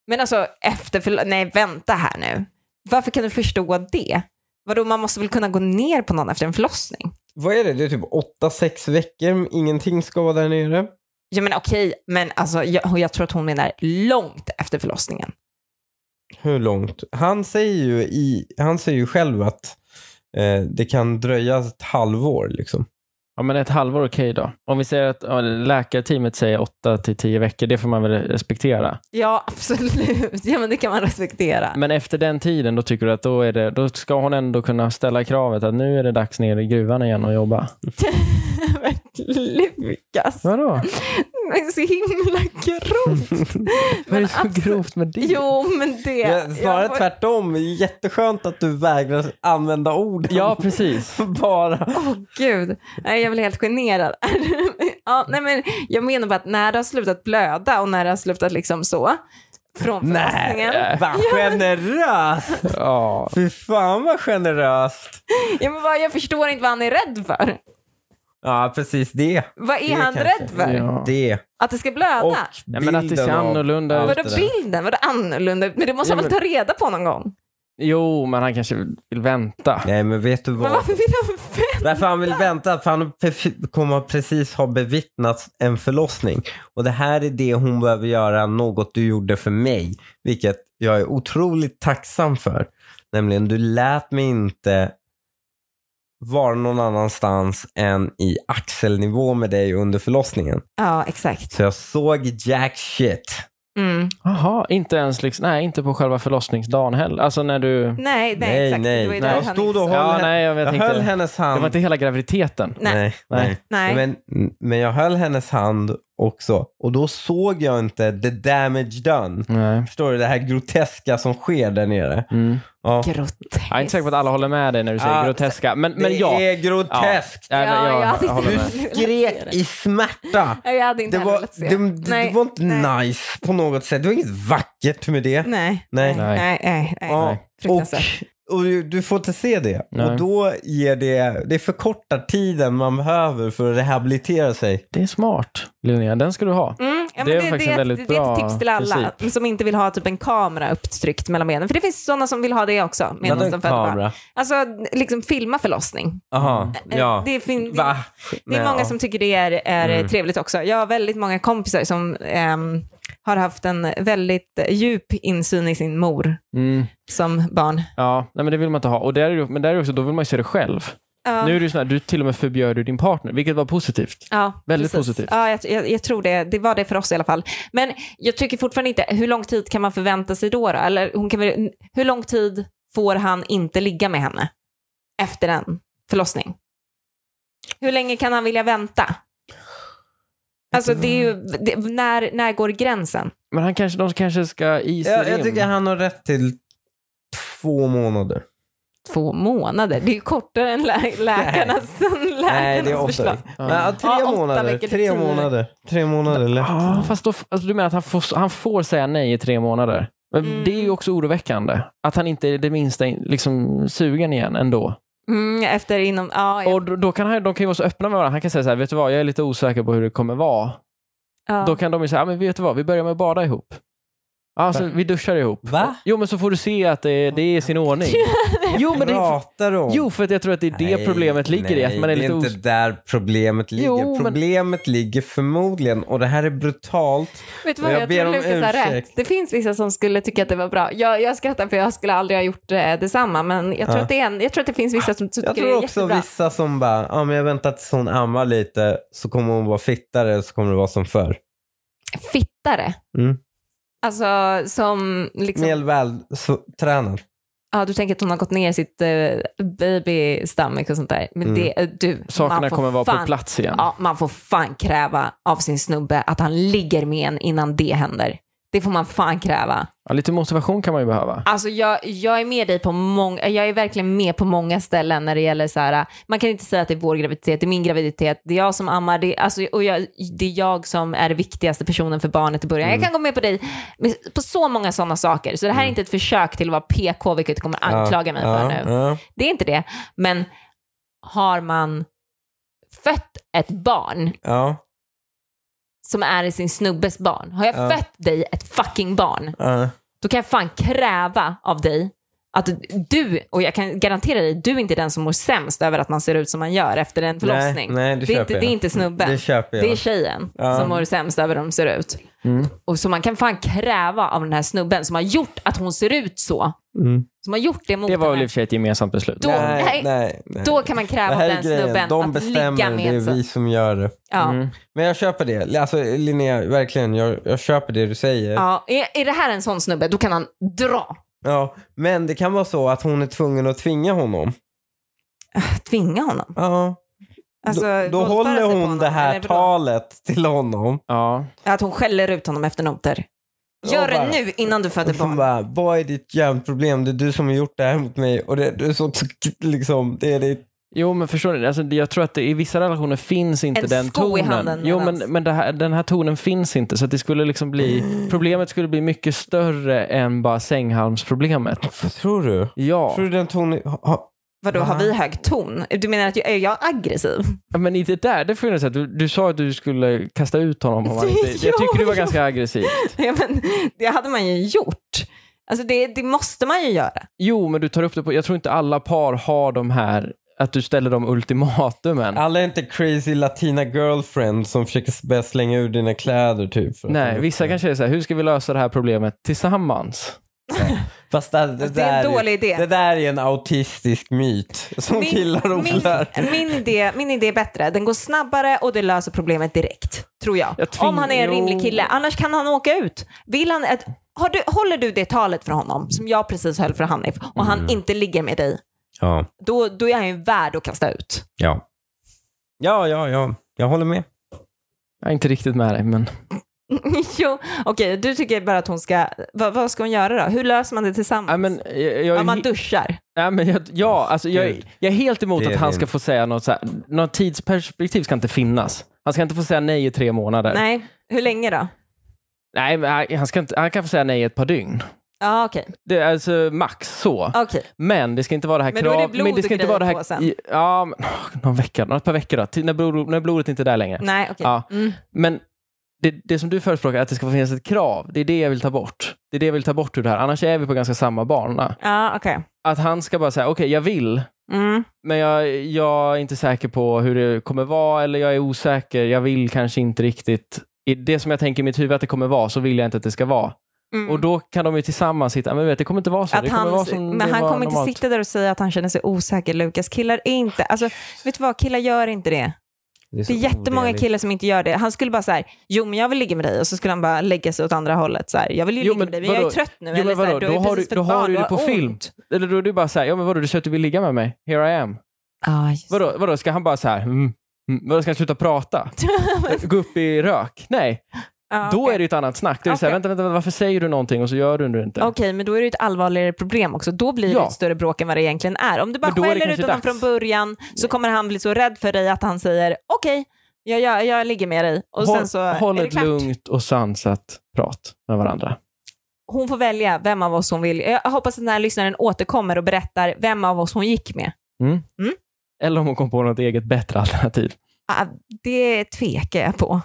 Men alltså efter förlo- nej vänta här nu. Varför kan du förstå det? Vadå, man måste väl kunna gå ner på någon efter en förlossning? Vad är det? Det är typ 8-6 veckor. Ingenting ska vara där nere. Ja men okej, men alltså jag, och jag tror att hon menar långt efter förlossningen. Hur långt? Han säger ju, i, han säger ju själv att eh, det kan dröja ett halvår. Liksom. Ja, men ett halvår okej då. Om vi säger att ja, läkarteamet säger 8 till 10 veckor, det får man väl respektera. Ja, absolut. Ja men det kan man respektera. Men efter den tiden, då tycker du att då, är det, då ska hon ändå kunna ställa kravet att nu är det dags ner i gruvan igen och jobba. Men Lukas, Vadå? det är så himla grovt. Vad är det så absolut- grovt med det? Jo men det. Ja, snarare jag får- tvärtom. Jätteskönt att du vägrar använda ord. Ja, precis. Bara. Åh gud, nej, jag blir helt generad. ja, nej, men jag menar bara att när det har slutat blöda och när det har slutat liksom så, från förlossningen. Nej, vad generöst! Ja. Fy fan vad generöst! Ja, men vad, jag förstår inte vad han är rädd för. Ja, precis det. Vad är, Det han kanske. rädd för? Ja. Det. Att det ska blöda? Och Nej, men att det ser bilden av annorlunda allt ut. Vadå det där. bilden? Vadå annorlunda? Men det måste Ja, han väl men- ta reda på någon gång? Jo, men han kanske vill vänta. Nej, men vet du vad? Men varför vill han vänta? Därför han vill vänta, för han pe- kommer precis ha bevittnat en förlossning. Och det här är det hon behöver göra, något du gjorde för mig. Vilket jag är otroligt tacksam för. Nämligen, du lät mig inte vara någon annanstans än i axelnivå med dig under förlossningen. Ja, exakt. Så jag såg jack shit. Mm. Jaha, inte ens liksom, nej, inte på själva förlossningsdagen heller. Alltså när du... Nej, nej, Nej, exakt. nej. Det var ju Nej, där jag han liksom- stod inte och sa- höll Ja, henne- nej, jag, Jag, jag höll tänkte... hennes Det hand. var inte hela graviditeten. Nej. nej. Nej. Men, men jag höll hennes hand också och då såg jag inte the damage done. Nej. Förstår du? Det här groteska som sker där nere. Mm. Ja. Groteskt. Jag är inte säker på att alla håller med dig när du säger Ah, groteska, men, men det ja. är groteskt. Ja, Ja, jag jag, tyckte- jag håller Du med. skrek i smärta. Ja, Jag hade inte Det heller var, velat se. det, det, det var inte nej. nice på något sätt. Det var inget vackert med det. Nej. Nej. Nej. Nej. nej, nej. Ja, och, Fruktansvärt. och du, du får inte se det. Nej. Och då ger det, det förkortar tiden man behöver för att rehabilitera sig. Det är smart, Linnea. Den ska du ha. Mm, ja, men Det det, är det, faktiskt en är ett- väldigt det är bra ett tips till alla princip. som inte vill ha typ en kamera upptryckt mellan benen. För det finns sådana som vill ha det också. Medan de föder barn. Alltså liksom filma förlossning. Jaha, Eh, ja. Det, fin- Va? det är Nej, många ja. som tycker det är, är Mm. trevligt också. Jag har väldigt många kompisar som ehm, har haft en väldigt djup insyn i sin mor Mm. som barn. Ja, nej, men det vill man inte ha. Och där är det, men där är det också, då vill man ju se det själv. Ja, Nu är det ju sån här, du till och med förbjöd ju din partner, vilket var positivt. ja, väldigt positivt. Ja, jag, jag, jag tror det. Det var det för oss i alla fall. Men jag tycker fortfarande inte, hur lång tid kan man förvänta sig då? då? Eller hon kan väl, hur lång tid får han inte ligga med henne efter en förlossning? Hur länge kan han vilja vänta? Alltså det är ju, det, när, när går gränsen? Men han kanske, de kanske ska isa Jag, jag in. tycker han har rätt till två månader. Två månader? Det är ju kortare än lä- läkarnas, Nej, det är läkarnas åtta. förslag. Ja. Nej, tre, Ja, åtta månader, veckor, tre tio. Ah, månader. Tre månader. lätt. Ja, fast då, alltså du menar att han får, han får säga nej i tre månader? Men Mm. Det är ju också oroväckande. Att han inte är det minsta liksom, sugen igen ändå. Mm, efter inom, ja, ja, Och då, då kan han, de kan ju vara så öppna med varandra. Han kan säga så här, vet du vad, jag är lite osäker på hur det kommer vara. ja. Då kan de ju säga, "Ja, men vet du vad, vi börjar med att bada ihop. Alltså, Va? vi duschar ihop. Va? Jo, men så får du se att det, det är i sin ordning. jo, men det är, Pratar du om? jo, för att jag tror att det är det Nej, problemet ligger i. nej, Att man är det lite är inte os- där problemet ligger. Jo, men- problemet ligger förmodligen, och det här är brutalt. Vet du vad, Jag jag, ber tror om Lukas har ursäkt. rätt. Det finns vissa som skulle tycka att det var bra. Jag, jag skrattar för jag skulle aldrig ha gjort eh, detsamma, men jag tror, Ja. att, det är en, jag tror att det finns vissa som tycker Jag det tror är också jättebra. vissa som bara, ja men jag väntar tills hon ammar lite så kommer hon vara fittare så kommer det vara som förr. Fittare. Mm. Alltså som liksom, Mer vältränad. ja du tänker att hon har gått ner i sitt eh, babystomach och sånt där. Men Mm. det, eh, du, Sakerna man får kommer vara på fan- plats igen. Ja, man får fan kräva av sin snubbe att han ligger med en innan det händer. Det får man fan kräva. Ja, lite motivation kan man ju behöva. Alltså jag, jag är med dig på många, jag är verkligen med på många ställen när det gäller så här, man kan inte säga att det är vår graviditet, det är min graviditet, det är jag som ammar, det, är- alltså, och jag, det är jag som är den viktigaste personen för barnet i början. Mm. Jag kan gå med på dig med- på så många sådana saker, så det här är inte ett försök till att vara PK, vilket du kommer anklaga mig för nu. Ja. Det är inte det, men har man fött ett barn ja. som är sin snubbes barn, har jag Ja. fött dig ett fucking barn, ja. då kan jag fan kräva av dig att du, och jag kan garantera dig, du är inte den som mår sämst över att man ser ut som man gör efter en förlossning. Nej, nej, det det, är köper inte, jag. det är inte snubben. Det köper jag. Det är tjejen Ja. som mår sämst över hur de ser ut. Mm. Och så man kan fan kräva av den här snubben som har gjort att hon ser ut så. Mm. Som har gjort det mot Det var väl i henne. och för sig ett gemensamt beslut. Då- nej, nej, nej, nej. Då kan man det kräva här av är den grejen. snubben De att ligga bestämmer, det med är sig. vi som gör det. Ja. Mm. Men jag köper det. Alltså Linnea, verkligen. Jag, jag köper det du säger. Ja, är, är det här en sån snubbe, då kan han dra. Ja, men det kan vara så att hon är tvungen att tvinga honom. Tvinga honom. Ja. Alltså, då då våldföra sig håller på hon honom, det här eller vadå? talet till honom. Ja. Att hon skäller ut honom efter noter. Gör Och bara- det nu innan du föder Och hon barn. bara, vad är ditt jävla problem? Det är du som har gjort det här mot mig och det, det är så, liksom, det är ditt... Jo, men förstår ni? Alltså, det- jag tror att det, i vissa relationer finns inte En den sko i tonen. handen jo, men, medans- men det här, den här tonen finns inte. Så att det skulle liksom bli, problemet skulle bli mycket större än bara sänghalmsproblemet. Vad tror du? Ja, Tror du den tonen... ha- ha- Vadå, Va? har vi hög ton? Du menar att jag, är jag aggressiv? men i det där, det får jag säga. Du, du sa att du skulle kasta ut honom. Om han inte, Ja, jag tycker du var ja. ganska aggressiv. Ja, men, det hade man ju gjort. Alltså det, det måste man ju göra. Jo, men du tar upp det på... Jag tror inte alla par har de här, att du ställer de ultimatumen. Alla är inte crazy latina girlfriend som försöker börja slänga ur dina kläder typ. för att- Nej, vissa Mm. kanske är så här, hur ska vi lösa det här problemet tillsammans? Fast det, det, det är en där dålig idé. Det där är en autistisk myt som killar odlar. min, min, idé, min idé är bättre. Den går snabbare och det löser problemet direkt. Tror jag. Jag tving- Om han är en jo. rimlig kille. Annars kan han åka ut. Vill han ett, har du, håller du det talet för honom som jag precis höll för Hanif och Mm. han inte ligger med dig, Ja, då, då är han ju värd att kasta ut. ja. Ja, ja, ja. Jag håller med. Jag är inte riktigt med dig, men... jo, okej, du tycker bara att hon ska, vad, vad ska hon göra då? Hur löser man det tillsammans? Nej, men jag, jag, ja, är man he- duschar. Nej, men jag, ja, alltså, jag, Gud. jag är helt emot Det är att han din- ska få säga något så här, något tidsperspektiv ska inte finnas. Han ska inte få säga nej i tre månader. Nej, hur länge då? Nej, men han- han, ska inte, han kan få säga nej i ett par dygn. Ja, okej. Det är alltså max så. Okej. Men det ska inte vara det här Men då är det krav- blod men det och ska inte grejer vara det här... på sen. Ja, men, åh, någon vecka, något par veckor då. Till när, blod, när blodet inte är där längre. Nej, okej. Ja. Mm. Men det, det som du förespråkar, att det ska finnas ett krav, det är det jag vill ta bort. Det är det jag vill ta bort ur det här. Annars är vi på ganska samma bana. Ja, okej. Att han ska bara säga, okej, jag vill, Mm. men jag, jag är inte säker på hur det kommer vara eller jag är osäker. Jag vill kanske inte riktigt. I det som jag tänker i mitt huvud att det kommer vara så vill jag inte att det ska vara. Mm. Och då kan de ju tillsammans hitta, men du vet, det kommer inte vara så. att det kommer han, vara som men det han var kommer normalt. inte sitta där och säga att han känner sig osäker, Lukas. Killar är inte, alltså vet du vad, killar gör inte det. Det är jättemånga killar som inte gör det. Han skulle bara så här, jo men jag vill ligga med dig och så skulle han bara lägga sig åt andra hållet. Så här, jag vill ju Jo, ligga men med dig men vadå? jag är trött nu. Jo, men eller så här, vadå? du har Då ju har precis du- fått då har barn, du det har på film. ont." Eller då är det bara så här, ja men vadå, du säger att du vill ligga med mig? Here I am. Ah, just. Vadå, vadå ska han bara så här, mm, mm, vadå, ska han sluta prata? Gå upp i rök? Nej, Ah, då okej. är det ju ett annat snack. Då är det så här, Okej. vänta, vänta, varför säger du någonting och så gör du det inte? Okej, men då är det ju ett allvarligare problem också. Då blir det Ja. ett större bråk än vad det egentligen är. Om du bara Men då är det skäller ut kanske honom dags. från början så kommer han bli så rädd för dig att han säger okej, jag, jag, jag ligger med dig. Och håll sen så håll är det ett klart. lugnt och sansat prat med varandra. Hon får välja vem av oss hon vill. Jag hoppas att den här lyssnaren återkommer och berättar vem av oss hon gick med. Eller om hon kom på något eget bättre alternativ. Ah, det tvekar jag på.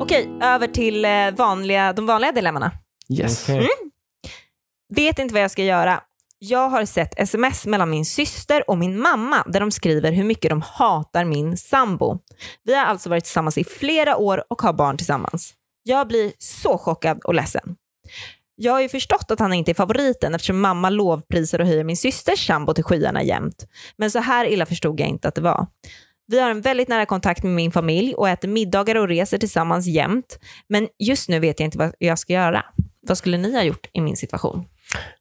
Okej, över till eh, vanliga, de vanliga dilemmana. Yes. Mm. Okej. Vet inte vad jag ska göra. Jag har sett sms mellan min syster och min mamma där de skriver hur mycket de hatar min sambo. Vi har alltså varit tillsammans i flera år och har barn tillsammans. Jag blir så chockad och ledsen. Jag har ju förstått att han inte är favoriten eftersom mamma lovprisar och höjer min systers sambo till skyarna jämt. Men så här illa förstod jag inte att det var. Vi har en väldigt nära kontakt med min familj och äter middagar och reser tillsammans jämt. Men just nu vet jag inte vad jag ska göra. Vad skulle ni ha gjort i min situation?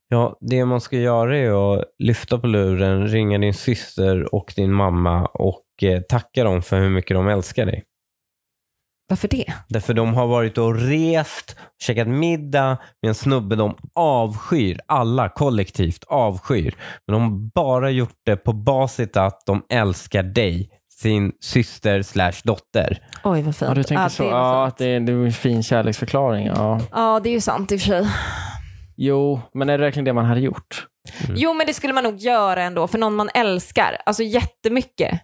Ja, det man ska göra är att lyfta på luren, ringa din syster och din mamma och eh, tacka dem för hur mycket de älskar dig. Varför det? Därför de har varit och rest, käkat middag med en snubbe de avskyr. Alla kollektivt avskyr. Men de har bara gjort det på basis att de älskar dig, sin syster slash dotter. Oj, vad fint. Ja, du tänker så. Det är Ja, ja, att det är, det är en fin kärleksförklaring. Ja. ja, det är ju sant i och för sig. Mm. Jo, men är det verkligen det man hade gjort? Jo, men det skulle man nog göra ändå för någon man älskar. Alltså jättemycket.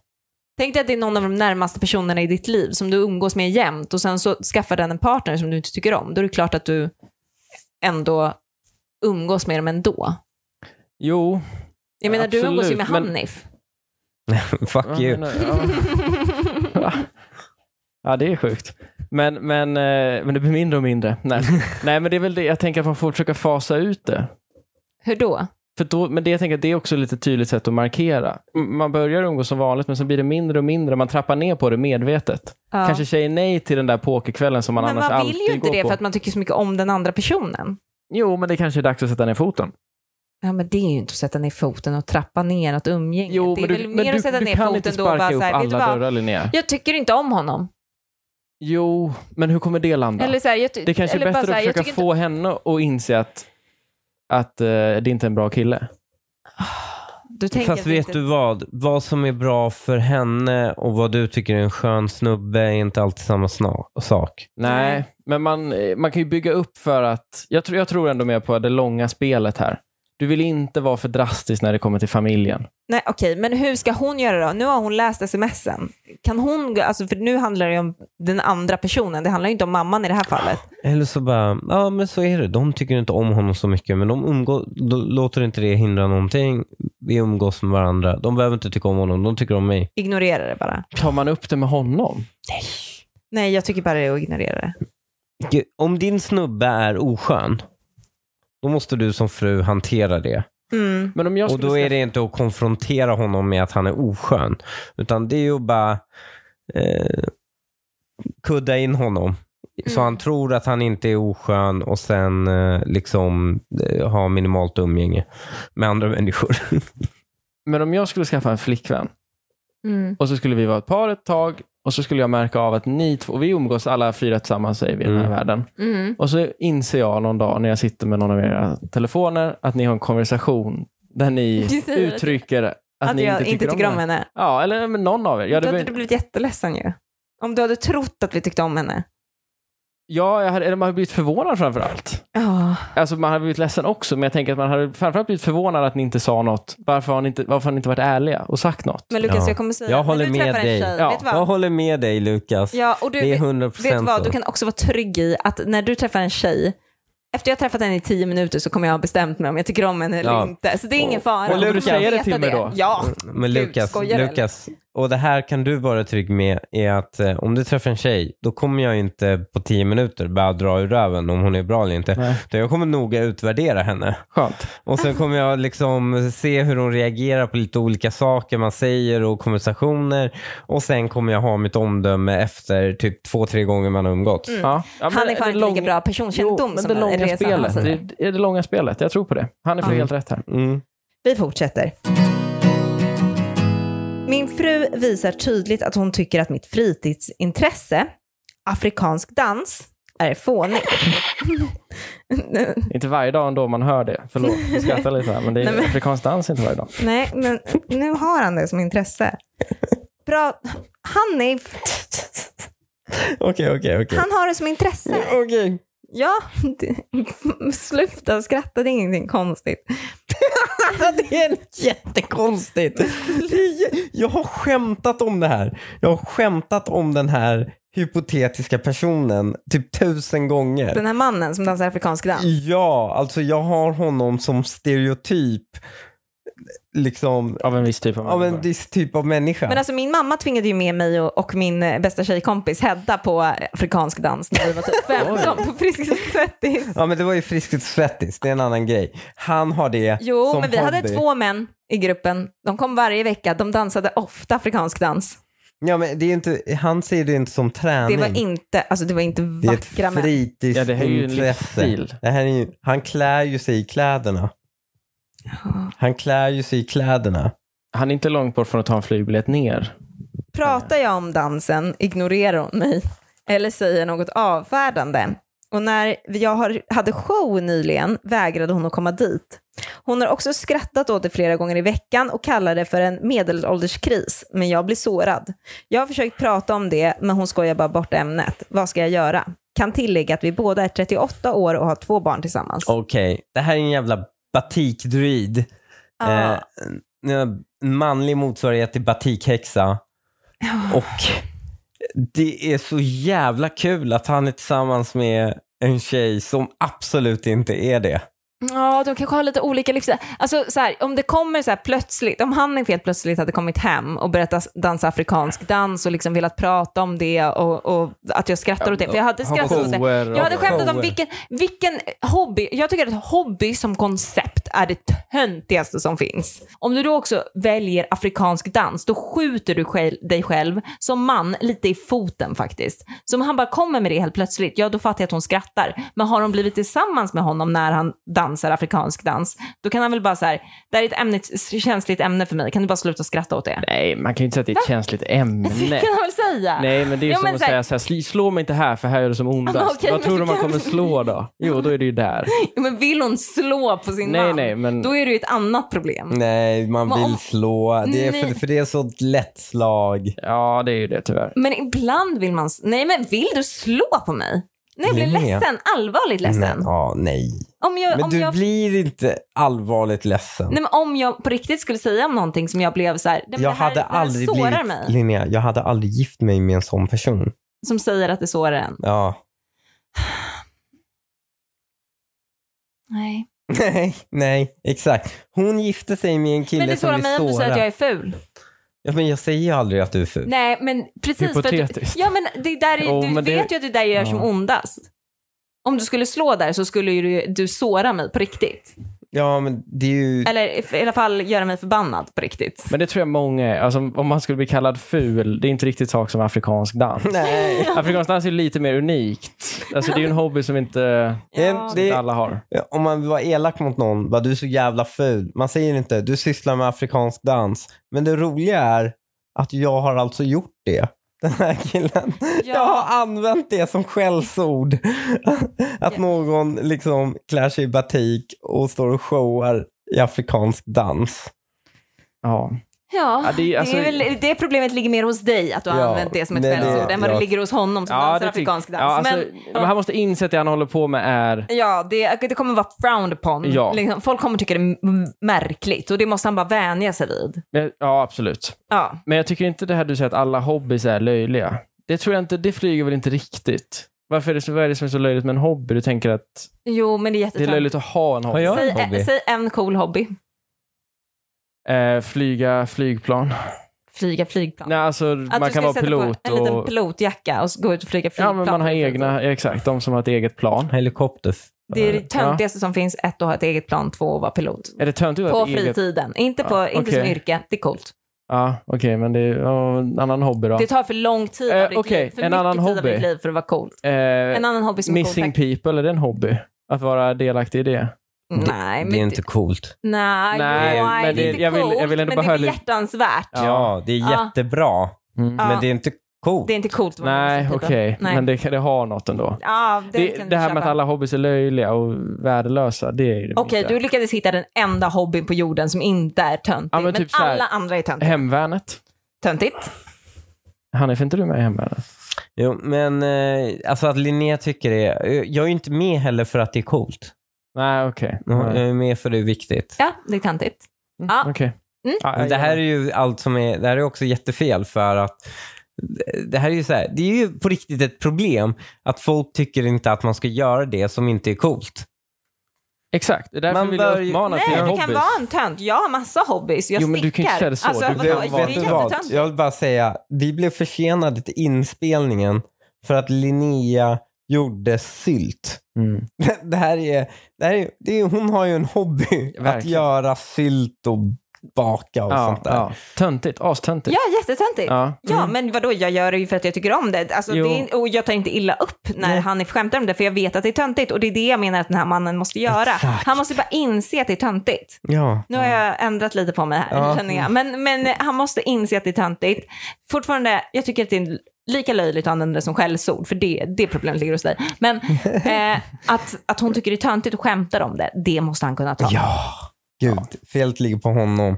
Tänk dig att det är någon av de närmaste personerna i ditt liv som du umgås med jämt och sen så skaffar den en partner som du inte tycker om. Då är det klart att du ändå umgås med dem ändå. Jo. Jag menar, du umgås ju med Absolut, men- Hanif. Fuck you. Ja, men, ja. ja, det är sjukt. Men, men, eh, men det blir mindre och mindre. Nej. Nej, men det är väl det. Jag tänker att man får försöka fasa ut det. Hur då? För då, men det jag tänker att det är också ett lite tydligt sätt att markera. M- Man börjar umgås som vanligt, men sen blir det mindre och mindre. Man trappar ner på det medvetet. Ja. Kanske säger nej till den där pokerkvällen som man men annars man alltid vill ju inte går det på. för att man tycker så mycket om den andra personen. Jo, men det kanske är dags att sätta ner foten. Ja, men det är ju inte att sätta ner foten och trappa ner något umgänge. Jo, det är men du, väl men mer du, att sätta du ner kan foten inte då och sparka bara så upp här, vet du alla vad? dörrar, Linnea. Jag tycker inte om honom. Jo, men hur kommer det landa? Eller så här, jag ty- det kanske är eller bättre bara så här, att jag försöka tycker få henne att inse att, att eh, det inte är en bra kille. Inte, du tänker Fast att vet inte- du vad? Vad som är bra för henne och vad du tycker är en skön snubbe är inte alltid samma sna- sak. Nej, Nej. men man, eh, man kan ju bygga upp för att... Jag tror, jag tror ändå mer på det långa spelet här. Du vill inte vara för drastisk när det kommer till familjen. Nej, okej, men hur ska hon göra då? Nu har hon läst smsen. Kan hon, gå- alltså, för nu handlar det ju om den andra personen. Det handlar ju inte om mamman i det här fallet. Eller så bara, ja men så är det. De tycker inte om honom så mycket men de umgås, då låter inte det hindra någonting. Vi umgås med varandra. De behöver inte tycka om honom, de tycker om mig. Ignorera det bara. Tar man upp det med honom? Nej, jag tycker bara det är att ignorera det. Gud, Om din snubbe är oskön, då måste du som fru hantera det. Mm. Men om jag Och skulle då är skaffa- det inte att konfrontera honom med att han är oskön. Utan det är ju bara eh, kudda in honom. Så Mm. han tror att han inte är oskön och sen eh, liksom eh, ha minimalt umgänge med andra människor. Men om jag skulle skaffa en flickvän Mm. och så skulle vi vara ett par ett tag och så skulle jag märka av att ni två, och vi umgås alla fyra tillsammans säger vi i den här Mm. världen. Mm. Och så inser jag någon dag när jag sitter med någon av era telefoner att ni har en konversation där ni Du säger att- uttrycker att, Att, ni jag inte tycker om henne. henne. Ja, eller men någon av er. Ja, då det, hade du var- blivit jätteledsen ju. Om du hade trott att vi tyckte om henne. ja jag hade, eller man hade blivit förvånad framför allt. Ja, Alltså man hade blivit ledsen också, men jag tänker att man hade framförallt blivit förvånad att ni inte sa något. Varför har ni inte, varför har ni inte varit ärliga och sagt något? men Lukas Ja. jag kommer säga Jag när håller du med träffar en dig. Tjej, Ja, vet du Jag vad? håller med dig Lukas. Ja, och du, det är vet 100 du procent vad, du kan också vara trygg i att när du träffar en tjej, efter jag har träffat henne i tio minuter så kommer jag ha bestämt mig om jag tycker om henne eller Ja. inte. Så det är ingen Och- fara. och Du Lukas- kommer säger det veta till mig då? Ja. Men Gud, Lukas, skojar du, Lukas och det här kan du vara trygg med är att eh, om du träffar en tjej, då kommer jag inte på tio minuter bara dra ur röven om hon är bra eller inte. Nej. Utan Jag kommer noga utvärdera henne. Skönt. Och Ah. sen kommer jag liksom se hur hon reagerar på lite olika saker man säger och konversationer. Och sen kommer jag ha mitt omdöme efter typ två, tre gånger man har umgåtts. Ja. Ja, men Mm. Han är det- det fan inte lika lång- bra Jo, men personkännedom som alltså. det han- långa eller som han spelet. säger. Det, det är det långa spelet. Jag tror på det. Han är för Ja. helt rätt här. Mm. Vi fortsätter. Min fru visar tydligt att hon tycker att mitt fritidsintresse, afrikansk dans, är fånigt. Inte varje dag ändå man hör det. Förlåt, jag skrattar lite här. Men det är Nej, men- afrikansk dans inte varje dag. Nej, men nu har han det som intresse. Bra. Han, är, Okej, okej, okej. han har det som intresse. Okej. Ja, det- sluta skratta, det är ingenting konstigt. Det är jättekonstigt. Det är jä- Jag har skämtat om det här. Jag har skämtat om den här hypotetiska personen typ tusen gånger. Den här mannen som dansar afrikansk dans. Ja, alltså jag har honom som stereotyp. Liksom Av en viss typ av av en människor. viss typ av människa. Men alltså min mamma tvingade ju med mig och, och min eh, bästa tjejkompis Hedda på eh, afrikansk dans när vi var typ 15 på Friskis och Svettis. Ja men det var ju Friskt Svettis, det är en annan grej. Han har det Jo, som men vi hade hobby. två män i gruppen. De kom varje vecka. De dansade ofta afrikansk dans. Ja men det är inte, han ser det inte som Det träning. var inte, alltså det var inte det är ett vackra män. fritidsintresse. Ja, det här är ju en livsstil. Det här är ju, han klär ju sig i kläderna. Han klär ju sig i kläderna. Han är inte långt bort från att ta en flygbiljett ner. Pratar jag om dansen ignorerar hon mig eller säger något avfärdande. Och när jag har- hade show nyligen vägrade hon att komma dit. Hon har också skrattat åt det flera gånger i veckan och kallar det för en medelålderskris, men jag blir sårad. Jag har försökt prata om det, men hon skojar bara bort ämnet. Vad ska jag göra? Kan tillägga att vi båda är 38 år och har två barn tillsammans. Okej, det här är en jävla batikdruid. Ah. Eh, en manlig motsvarighet till batikhäxa. Och det är så jävla kul att han är tillsammans med en tjej som absolut inte är det. Ja, de kanske har lite olika livsstil. Alltså, så här, om det kommer så här plötsligt, om han helt plötsligt hade kommit hem och börjat dans- dansa afrikansk dans och liksom velat prata om det och, och att jag skrattar åt det, för jag hade skrattat åt det. Shower Jag hade och- skämtat om shower. vilken, vilken hobby, jag tycker att hobby som koncept är det töntigaste som finns. Om du då också väljer afrikansk dans, då skjuter du själv, dig själv som man lite i foten faktiskt. Så om han bara kommer med det helt plötsligt, ja då fattar jag att hon skrattar. Men har hon blivit tillsammans med honom när han dansar afrikansk dans, då kan han väl bara så här, det här är ett ämne, ett känsligt ämne för mig, kan du bara sluta skratta åt det? Nej, man kan ju inte säga att det är ett känsligt ämne. Det kan han väl säga? Nej, men det är Jo, som men att så här- säga så här, "Sli- slå mig inte här för här gör det som ondast. Vad Okej, men tror du du man kan- kommer slå då? Jo, då är det ju där. Men vill hon slå på sin Nej, man, nej, men- då är det ju ett annat problem. Nej, man Men vill om- slå. Det är Nej. för, för det är så lätt slag. Ja, det är ju det tyvärr. Men ibland vill man... s- Nej, men vill du slå på mig? Nej, jag blir Linnea. ledsen. Allvarligt ledsen. Nej, ja, nej. Om jag, Men om du jag blir inte allvarligt ledsen. Nej, men om jag på riktigt skulle säga om någonting som jag blev så här, "Nej, men jag det här, hade det här aldrig sårar blivit, mig. Linnea, jag hade aldrig gift mig med en sån person. Som säger att det sårar en. Ja. Nej. Nej, nej, exakt. Hon gifte sig med en kille Men det som sårar blev mig om du säger sårad. att jag är ful. Ja, men jag säger ju aldrig att du är ful. Nej, men precis. för att du, Hypotetiskt. ja, men det där är, Jo, du men det- vet ju att det där gör Ja. som ondast. Om du skulle slå där så skulle ju du, du såra mig på riktigt. Ja, men det är ju... Eller i alla fall göra mig förbannad på riktigt. Men det tror jag många är. Alltså, om man skulle bli kallad ful, det är inte riktigt sak som afrikansk dans. Nej. Afrikansk dans är lite mer unikt. Alltså, det är ju en hobby som inte, Ja, inte det, alla har. Eh, om man var elak mot någon, bara, du är så jävla ful. Man säger inte, du sysslar med afrikansk dans. Men det roliga är att jag har alltså gjort det. Den här killen. Jag har använt det som skällsord. Att Ja. någon liksom klär sig i batik och står och showar i afrikansk dans. Ja. Ja, Ja, det är- det, alltså- är väl, det problemet ligger mer hos dig, att du har Ja, använt det som ett nej, det- skällsord, än vad det ja. ligger hos honom som dansar det tyck- afrikansk dans. Ja, alltså, men, men han måste inse att det han håller på med är... ja det, det kommer vara frowned upon. Ja. Liksom, folk kommer tycka det är m- märkligt och det måste han bara vänja sig vid. men- Ja, absolut. Ja. Men jag tycker inte det här du säger att alla hobbys är löjliga. Det tror jag inte, det flyger väl inte riktigt. Varför är det, så, vad är det som är så löjligt med en hobby? Du tänker att Jo, men det är det är jättetöntigt. löjligt att ha en hobby? jag Säg, en hobby? eh, säg en cool hobby. Eh, flyga flygplan. Flyga flygplan. Nej, alltså Att man du kan ska vara sätta pilot på en liten och... pilotjacka och så gå ut och flyga Ja, flygplan. liksom. men man har Det är egna, exakt, de som har ett eget plan. Helikopter. Det är det töntigaste som finns, ett, att ha ett eget plan, två, att vara pilot. Är det töntigt att På ha ett eget... fritiden, inte, på, Ja, inte okej. som yrke. Det är coolt. Ja, okej, men det är ja, en annan hobby då. Det tar för lång tid Eh, av ditt okej, liv, för en mycket annan tid av hobby. ditt liv för att vara cool. Eh, En annan hobby som är missing cool. people, är det en hobby? Att vara delaktig i det? tack. Nej, men Det är inte coolt. Nej, Nej, jo, men det är det- inte jag vill- jag coolt, ville men bara det är höra lite- behjärtansvärt. Ja. Ja, det är Ja. jättebra. Mm. Ja. Men det är inte coolt. Det är inte coolt att vara Nej, missing people. okej, Nej. men det, kan- det har något ändå. Ja, det, Det, kan det, du här med köpa. att alla hobbys är löjliga och värdelösa, det är ju det Okej, inte. du lyckades hitta den enda hobbyn på jorden som inte är töntig. Ja, men men typ så här- alla andra är töntigt. Hemvärnet. töntigt. Hanif, är inte du med i Hemvärnet? Jo, men eh, alltså att Linnea tycker det. eh, Jag är ju inte med heller för att det är coolt. Nej, okej. Jag Nej. är med eh, för det är viktigt. Ja, det är töntigt. Ja. Okej. Mm. Ja, Men jag det här är gillar ju allt som är, det här är också jättefel för att det här är ju så här, det är ju på riktigt ett problem att folk tycker inte att man ska göra det som inte är coolt. Exakt, det är därför Man vill bör jag ju- uppmana Nej, till du hobbys. kan vara en tönt. Jag har massa hobbys. Jag Jo, men stickar. du kan ju inte säga det så. Alltså, Du vadå? behöver Det vara är vet du vad? jättetöntigt. Jag vill bara säga, vi blev försenade till inspelningen för att Linnea gjorde sylt. Mm. Det här är, det här är, det är hon har ju en hobby att Verkligen. göra sylt och baka och Ja, sånt där. ja. Töntigt, astöntigt. Ja, jättetöntigt. Ja. Ja, Mm. men vadå, jag gör det ju för att jag tycker om det. Alltså, det Jo. är, och jag tar inte illa upp när Nej. han skämtar om det, för jag vet att det är töntigt. Och det är det jag menar att den här mannen måste göra. Exakt. Han måste bara inse att det är töntigt. Ja. Nu har jag ändrat lite på mig här, Ja. känner jag. Men, men han måste inse att det är töntigt. Fortfarande, jag tycker att det är lika löjligt att använda det som skällsord, för det, det problemet ligger hos dig. Men eh, att, att hon tycker det är töntigt och skämtar om det, det måste han kunna ta. Ja. Gud, felet ligger på honom.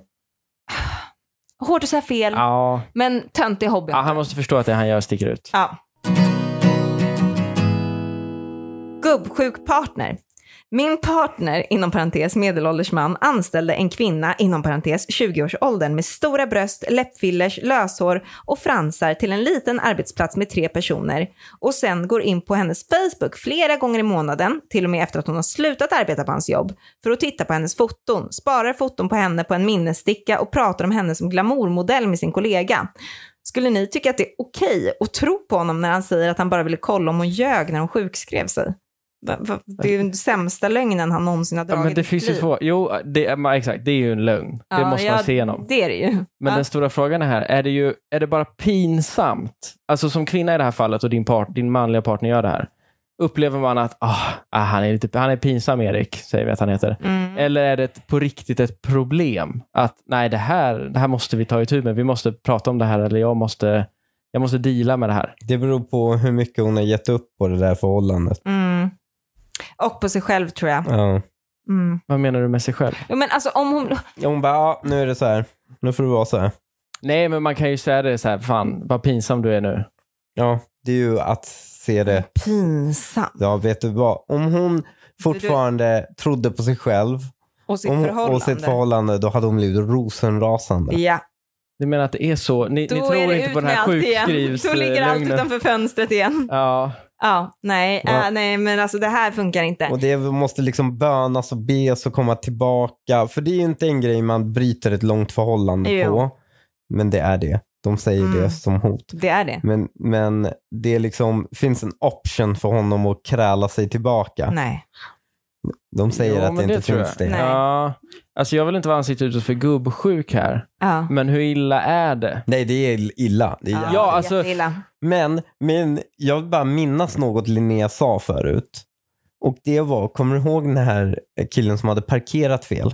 Hårt att säga fel, Ja. men töntig hobby. ja, han måste förstå att det han gör sticker ut. Ja. Gubbsjuk partner. Min partner, inom parentes medelålders man, anställde en kvinna, inom parentes 20-årsåldern, med stora bröst, läppfillers, löshår och fransar till en liten arbetsplats med tre personer och sen går in på hennes Facebook flera gånger i månaden, till och med efter att hon har slutat arbeta på hans jobb, för att titta på hennes foton, sparar foton på henne på en minnessticka och pratar om henne som glamourmodell med sin kollega. Skulle ni tycka att det är okej att tro på honom när han säger att han bara ville kolla om hon ljög när hon sjukskrev sig? Va- va- Det är ju den sämsta lögnen han någonsin har Ja, dragit men i det sitt finns ju liv. två. Jo, det, är- men exakt. Det är ju en lögn. det Ja, måste ja, man se igenom. Det är det ju. Men Ja. den stora frågan är här, är det, ju, är det bara pinsamt? Alltså som kvinna i det här fallet och din, part, din manliga partner gör det här. Upplever man att ah, ah, han, är lite, han är pinsam Erik, säger vi att han heter. Mm. Eller är det ett, på riktigt ett problem? Att nej, det här, det här måste vi ta itu med. Vi måste prata om det här eller jag måste, jag måste deala med det här. Det beror på hur mycket hon har gett upp på det där förhållandet. Mm. Och på sig själv tror jag. Ja. Mm. Vad menar du med sig själv? Jo, men alltså om hon... Hon bara, ja, nu är det så här. Nu får det vara så här. Mm. Nej, men man kan ju säga det så här, fan vad pinsam du är nu. Ja, det är ju att se det. Pinsamt. Ja, vet du vad? Om hon fortfarande trodde på sig själv Och sitt om hon- förhållande. och sitt förhållande, då hade hon blivit rosenrasande. Ja, Du menar att det är så? Ni, ni då är tror det inte ut på den med här allt igen. sjukskrivs... Då ligger allt lögnen? utanför fönstret igen. Ja, Ja, nej, Ja. eh, nej, men alltså det här funkar inte. Och det måste liksom bönas och bes och komma tillbaka. För det är ju inte en grej man bryter ett långt förhållande Jo. på. Men det är det. De säger Mm. det som hot. Det är det. Men, men det är liksom, finns en option för honom att kräla sig tillbaka. Nej. De säger Jo, att det men inte tror finns jag. det. Nej. Ja. Alltså jag vill inte vara ansiktet för gubbsjuk här, Ja. men hur illa är det? Nej, det är illa. Det är Ja. jävligt. Ja, alltså- jätteilla. Men, men jag vill bara minnas något Linnea sa förut. Och det var, kommer du ihåg den här killen som hade parkerat fel?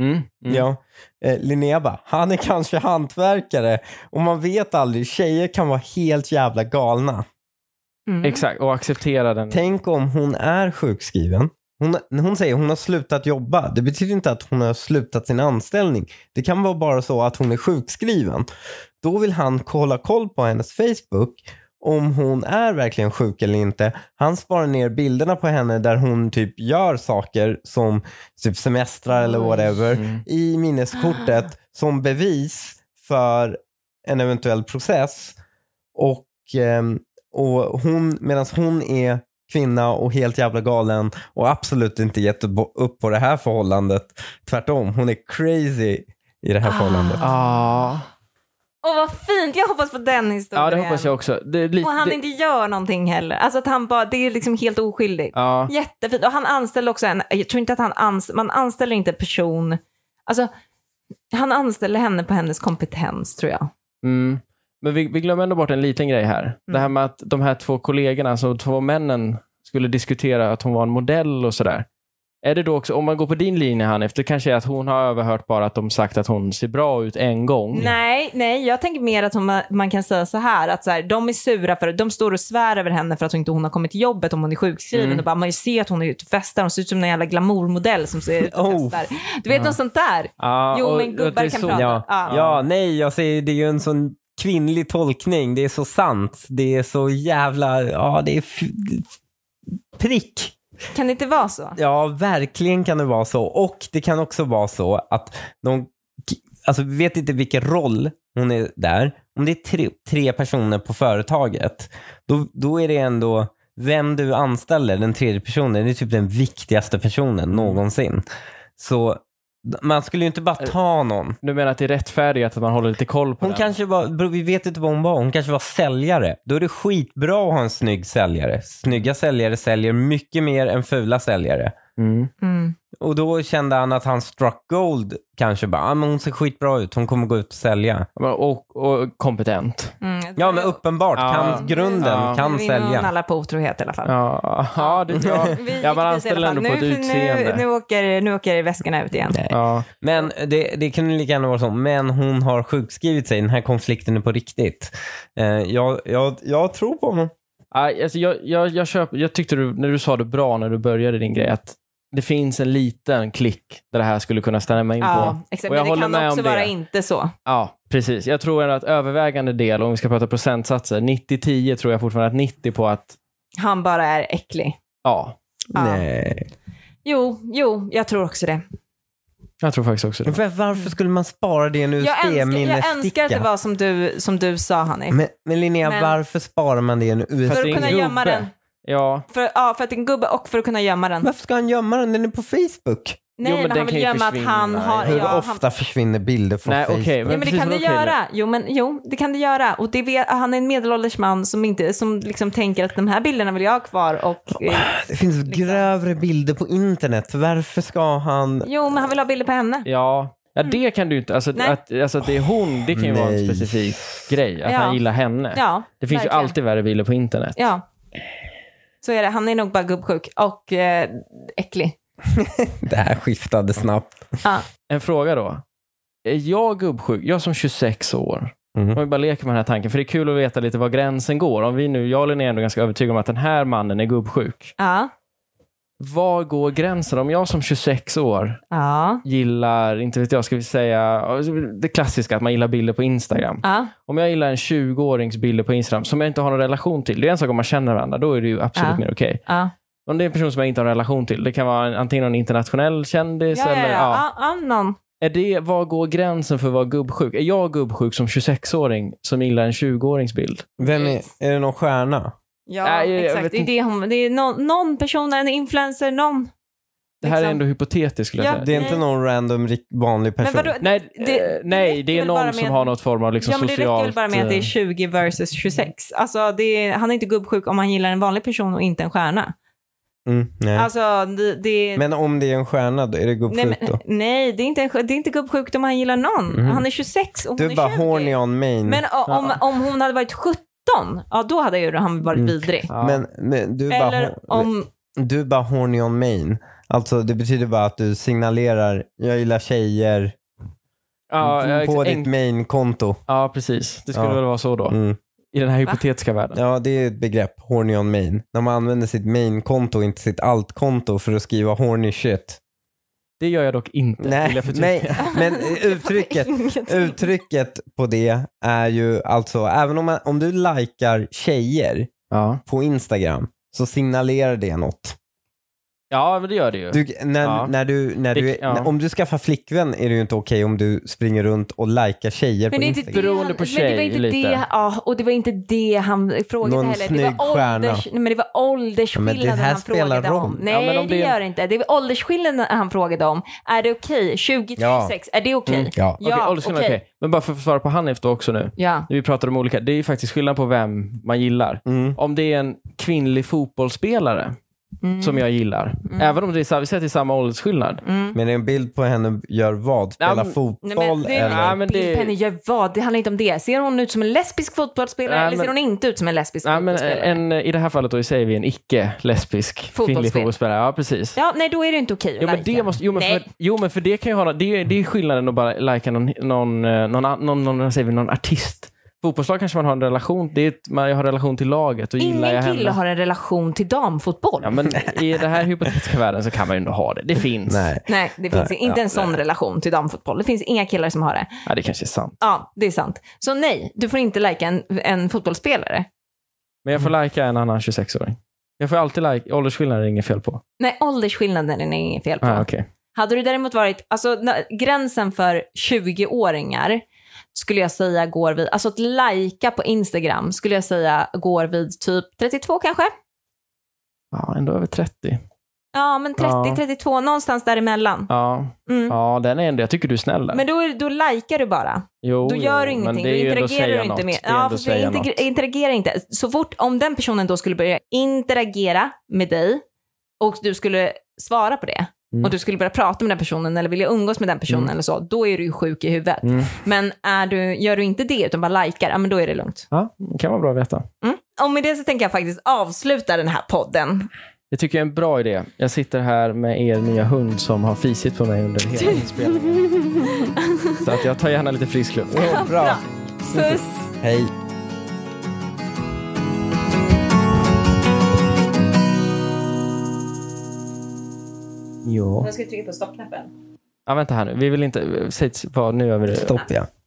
Mm. Mm. Ja. Eh, Linnea bara, han är kanske hantverkare. Och man vet aldrig, tjejer kan vara helt jävla galna. Mm. Exakt, och acceptera den. Tänk om hon är sjukskriven. Hon, hon säger hon har slutat jobba. Det betyder inte att hon har slutat sin anställning. Det kan vara bara så att hon är sjukskriven. Då vill han kolla koll på hennes Facebook om hon är verkligen sjuk eller inte. Han sparar ner bilderna på henne där hon typ gör saker som typ semestrar eller Oj. whatever Mm. i minneskortet som bevis för en eventuell process. Och, ehm, och hon, medan hon är kvinna och helt jävla galen och absolut inte gett upp- upp på det här förhållandet. Tvärtom, hon är crazy i det här Ah. förhållandet. Ja. Och vad fint, jag hoppas på den historien. ja, det hoppas jag också. Det är lite, Och han det- inte gör någonting heller. Alltså att han bara, det är liksom helt oskyldigt. ja. Jättefint. Och han anställde också en, jag tror inte att han ans, man anställer inte en person, alltså han anställer henne på hennes kompetens tror jag. Mm. Men vi, vi glömmer ändå bort en liten grej här. Det Mm. här med att de här två kollegorna, alltså två männen, skulle diskutera att hon var en modell och sådär. Är det då också, om man går på din linje Hanif, det kanske är att hon har överhört bara att de sagt att hon ser bra ut en gång. Nej, nej, jag tänker mer att hon, man kan säga så här att så här, de är sura för de står och svär över henne för att hon inte hon har kommit till jobbet om hon är sjukskriven Mm. och bara man ser att hon är ute och festar, hon ser ut som en jävla glamourmodell som ser ut och Oh. festar. Du vet Ja. något sånt där. Ja, Jo, och- men och gubbar det är kan så- prata. Ja. Ja. ja, nej, jag säger det är ju en sån kvinnlig tolkning. Det är så sant. Det är så jävla, ja det är f- prick. Kan det inte vara så? Ja, verkligen kan det vara så. Och det kan också vara så att de, alltså vi vet inte vilken roll hon är där. Om det är tre, tre personer på företaget, då, då är det ändå vem du anställer, den tredje personen, det är typ den viktigaste personen någonsin. Så man skulle ju inte bara ta någon. Du menar att det är rättfärdigt att man håller lite koll på Hon den? kanske var, bro, vi vet inte vad hon var, hon kanske var säljare. Då är det skitbra att ha en snygg säljare. Snygga säljare säljer mycket mer än fula säljare. Mm. Mm. Och då kände han att han struck gold kanske bara, ah, men hon ser skitbra ut, hon kommer gå ut och sälja. Men- Och, och kompetent. Mm. Ja men uppenbart, Ja. kan grunden, Ja. kan Vi vinner hon sälja. alla på otrohet i alla fall. Ja, ja det tror jag. Vi Ja, man gick dit i anställer alla fall. ändå på ett nu, utseende. Nu, nu, åker, nu åker väskorna ut igen. Nej. Ja. Men det, det kunde lika gärna vara så, men hon har sjukskrivit sig, den här konflikten är på riktigt. Eh, jag, jag, jag tror på honom. Aj, Alltså, jag, jag, jag, köp, jag tyckte du, när du sa det bra när du började din grej, att det finns en liten klick där det här skulle kunna stämma in på. Ja, exakt. Och jag Men det håller kan med också om det. vara inte så. Ja, precis. Jag tror ändå att övervägande del, om vi ska prata procentsatser, 90-10 tror jag fortfarande att 90 på att, Han bara är äcklig. ja. Ja. Nej. Jo, jo, jag tror också det. Jag tror faktiskt också det. Var- Varför skulle man spara det i en Jag önskar, jag önskar att det USB-minnessticka? var som du, som du sa, Hanif. Men, men Linnea, Men- varför sparar man det i en Fast USB? för det är en att kunna gömma gubbe. den. Ja, För, ja, för att det är en gubbe och för att kunna gömma den. Varför ska han gömma den? Den är på Facebook. Nej, Jo, men men, den han kan vill ju gömma att försvinna. han har... Hur ja, han- ofta försvinner bilder från nej okej. Facebook? men Ja, men det precis kan som det de killar. göra. Jo, men, jo, det kan det göra. Och det vet, han är en medelålders man som, inte, som liksom tänker att de här bilderna vill jag ha kvar. Och, eh, Det finns grövre bilder på internet. Varför ska han... jo, men han vill ha bilder på henne. Ja, ja det kan du ju inte. Alltså, Mm. Nej. att, alltså att det är hon, det kan ju vara en Nej. specifik grej. Att Ja. han gillar henne. Ja, det finns verkligen. ju alltid värre bilder på internet. ja. Så är det. Han är nog bara gubbsjuk och eh, äcklig. Det här skiftade snabbt. Ja. En fråga då. Är jag gubbsjuk? Jag som 26 år. Mm. Om vi bara leker med den här tanken. För det är kul att veta lite var gränsen går. Om vi nu, jag och Linnea är ändå ganska övertygade om att den här mannen är gubbsjuk. Ja. var går gränsen? Om jag som 26 år Ja. gillar, inte vet jag, ska vi säga det klassiska att man gillar bilder på Instagram. ja. Om jag gillar en 20-årings bilder på Instagram som jag inte har någon relation till. Det är en sak om man känner varandra, då är det ju absolut Ja. mer okej. ja. Om det är en person som jag inte har en relation till, det kan vara en, antingen någon internationell kändis eller ja. ja, någon. Är det, var går gränsen för att vara gubbsjuk? Är jag gubbsjuk som 26-åring som gillar en 20-årings bild? Vem är, är det någon stjärna? Ja, Nej, jag- jag exakt. vet Det är, inte. det, hon, det är någon, någon person, en influencer, någon. Det här är Liksom. ändå hypotetiskt skulle jag Ja, säga. Det är inte Nej. någon random rik- vanlig person. Men vadå? Nej, det- eh, nej, det räcker är väl bara någon som med- har något form av liksom ja, men det räcker väl socialt... bara med att det är eh, 20 versus 26. Alltså, det är, han är inte gubbsjuk om han gillar en vanlig person och inte en stjärna. Mm, nej. Alltså, det, det, men om det är en stjärna, då är det nej, gubbsjukt men, då? nej, det är inte, en sj- det är inte gubbsjukt om han gillar någon. Mhm. Han är 26 och hon Du är bara är 20. horny on main. Men o- om, om hon hade varit 17, ja då hade ju han varit Mm. vidrig. ja. men, men du, är bara, Eller hor- om, du är bara horny on main. Alltså det betyder bara att du signalerar, jag gillar tjejer, ja, ja, på ex- ditt en, main-konto. ja, precis. Det skulle Ja. väl vara så då. Mm. I den här hypotetiska världen. Ja, det är ett begrepp, horny on main. När man använder sitt main-konto och inte sitt alt-konto för att skriva horny shit. Det gör jag dock inte. vill Nej, jag förtydliga. nej men eh, uttrycket, uttrycket på det är ju alltså, även om, man, om du likar tjejer Ja. på Instagram så signalerar det något. ja, men det gör det ju. Du, när, Ja. när du, när du, Det- ja. Om du skaffar flickvän är det ju inte okej om du springer runt och likar Men tjejer på det, är inte Instagram. det Beroende han, på men det var tjej inte lite. det, ja, och det var inte det han frågade Någon heller. Det snygg var, stjärna. ålders, nej, men det var åldersskillnaden Ja, men det här han frågade spelar roll. om. Ja, Nej, men om det det är- gör det inte. Det var åldersskillnaden han frågade om. Är det okej? 20 till Ja. 26, är det okej? Mm, ja. Okej, Ja, åldersskillnad, okej. okej. Men bara för att svara på Hanif då också nu. Ja. När vi pratar om olika, det är ju faktiskt skillnad på vem man gillar. Mm. Om det är en kvinnlig fotbollsspelare Mm. som jag gillar, även om det är, sa- vi säger att det är samma åldersskillnad. Mm. Men en bild på henne gör vad? Spela men- fotboll Nej, men det är eller? Ja, ja, men men det... det- Penny gör vad? Det handlar inte om det. Ser hon ut som en lesbisk fotbollsspelare Nej, eller men- ser hon inte ut som en lesbisk Nej, men eh, fotbollsspelare? en, I det här fallet då säger vi en icke-lesbisk kvinnlig Fotbollsspelare. fotbollsspelare. Ja, precis. Ja, nej då är det inte okej att Jo men, lajka. det måste, jo, men för, Nej. jo men för det kan ju ha det är, det är skillnaden att bara lajka någon, någon, eh, någon, an- någon, någon, vad säger vi, någon artist. Fotbollslag kanske man har en relation, det är, ett- man har en relation till laget och gillar jag Ingen kille henne. har en relation till damfotboll. Ja, men I den här hypotetiska världen så kan man ju ändå ha det. Det finns. Nej. Nej, det finns Nej, inte ja, en sån relation till damfotboll. Det finns inga killar som har det. Ja, det kanske är sant. Ja, det är sant. Så nej, du får inte lajka en, en fotbollsspelare. Men jag får lajka en annan 26-åring. Jag får alltid lajka, åldersskillnaden är det inget fel på. Nej, åldersskillnaden är det inget fel på. Ah, okej. Hade du däremot varit, alltså när- gränsen för 20-åringar skulle jag säga går vid, alltså att lajka på Instagram skulle jag säga går vid typ 32 kanske? Ja, ändå över 30. Ja, men 30, Ja. 32, någonstans däremellan. Ja, Mm. ja den är ändå, jag tycker du är snäll där. Men då, är- då likar du bara. jo, Då gör du jo, ingenting, Men det är då ju ändå att interagerar säga du inte något. med. Det är ändå för att säga något. integre- interagera inte. Så fort, om den personen då skulle börja interagera med dig och du skulle svara på det Mm. och du skulle börja prata med den personen eller vilja umgås med den personen Mm. eller så, då är du ju sjuk i huvudet. Mm. Men är du, gör du inte det utan bara likar, ja men då är det lugnt. Ja, det kan vara bra att veta. Mm. Och med det så tänker jag faktiskt avsluta den här podden. Det tycker jag är en bra idé. Jag sitter här med er nya hund som har fisit på mig under hela inspelningen. Så att jag tar gärna lite frisk luft. Åh, bra. Puss! Hej. Ja. Jag ska trycka på stoppknappen. ja, vänta här nu. Vi vill inte... Säg vad, nu gör vi det. Stopp ja.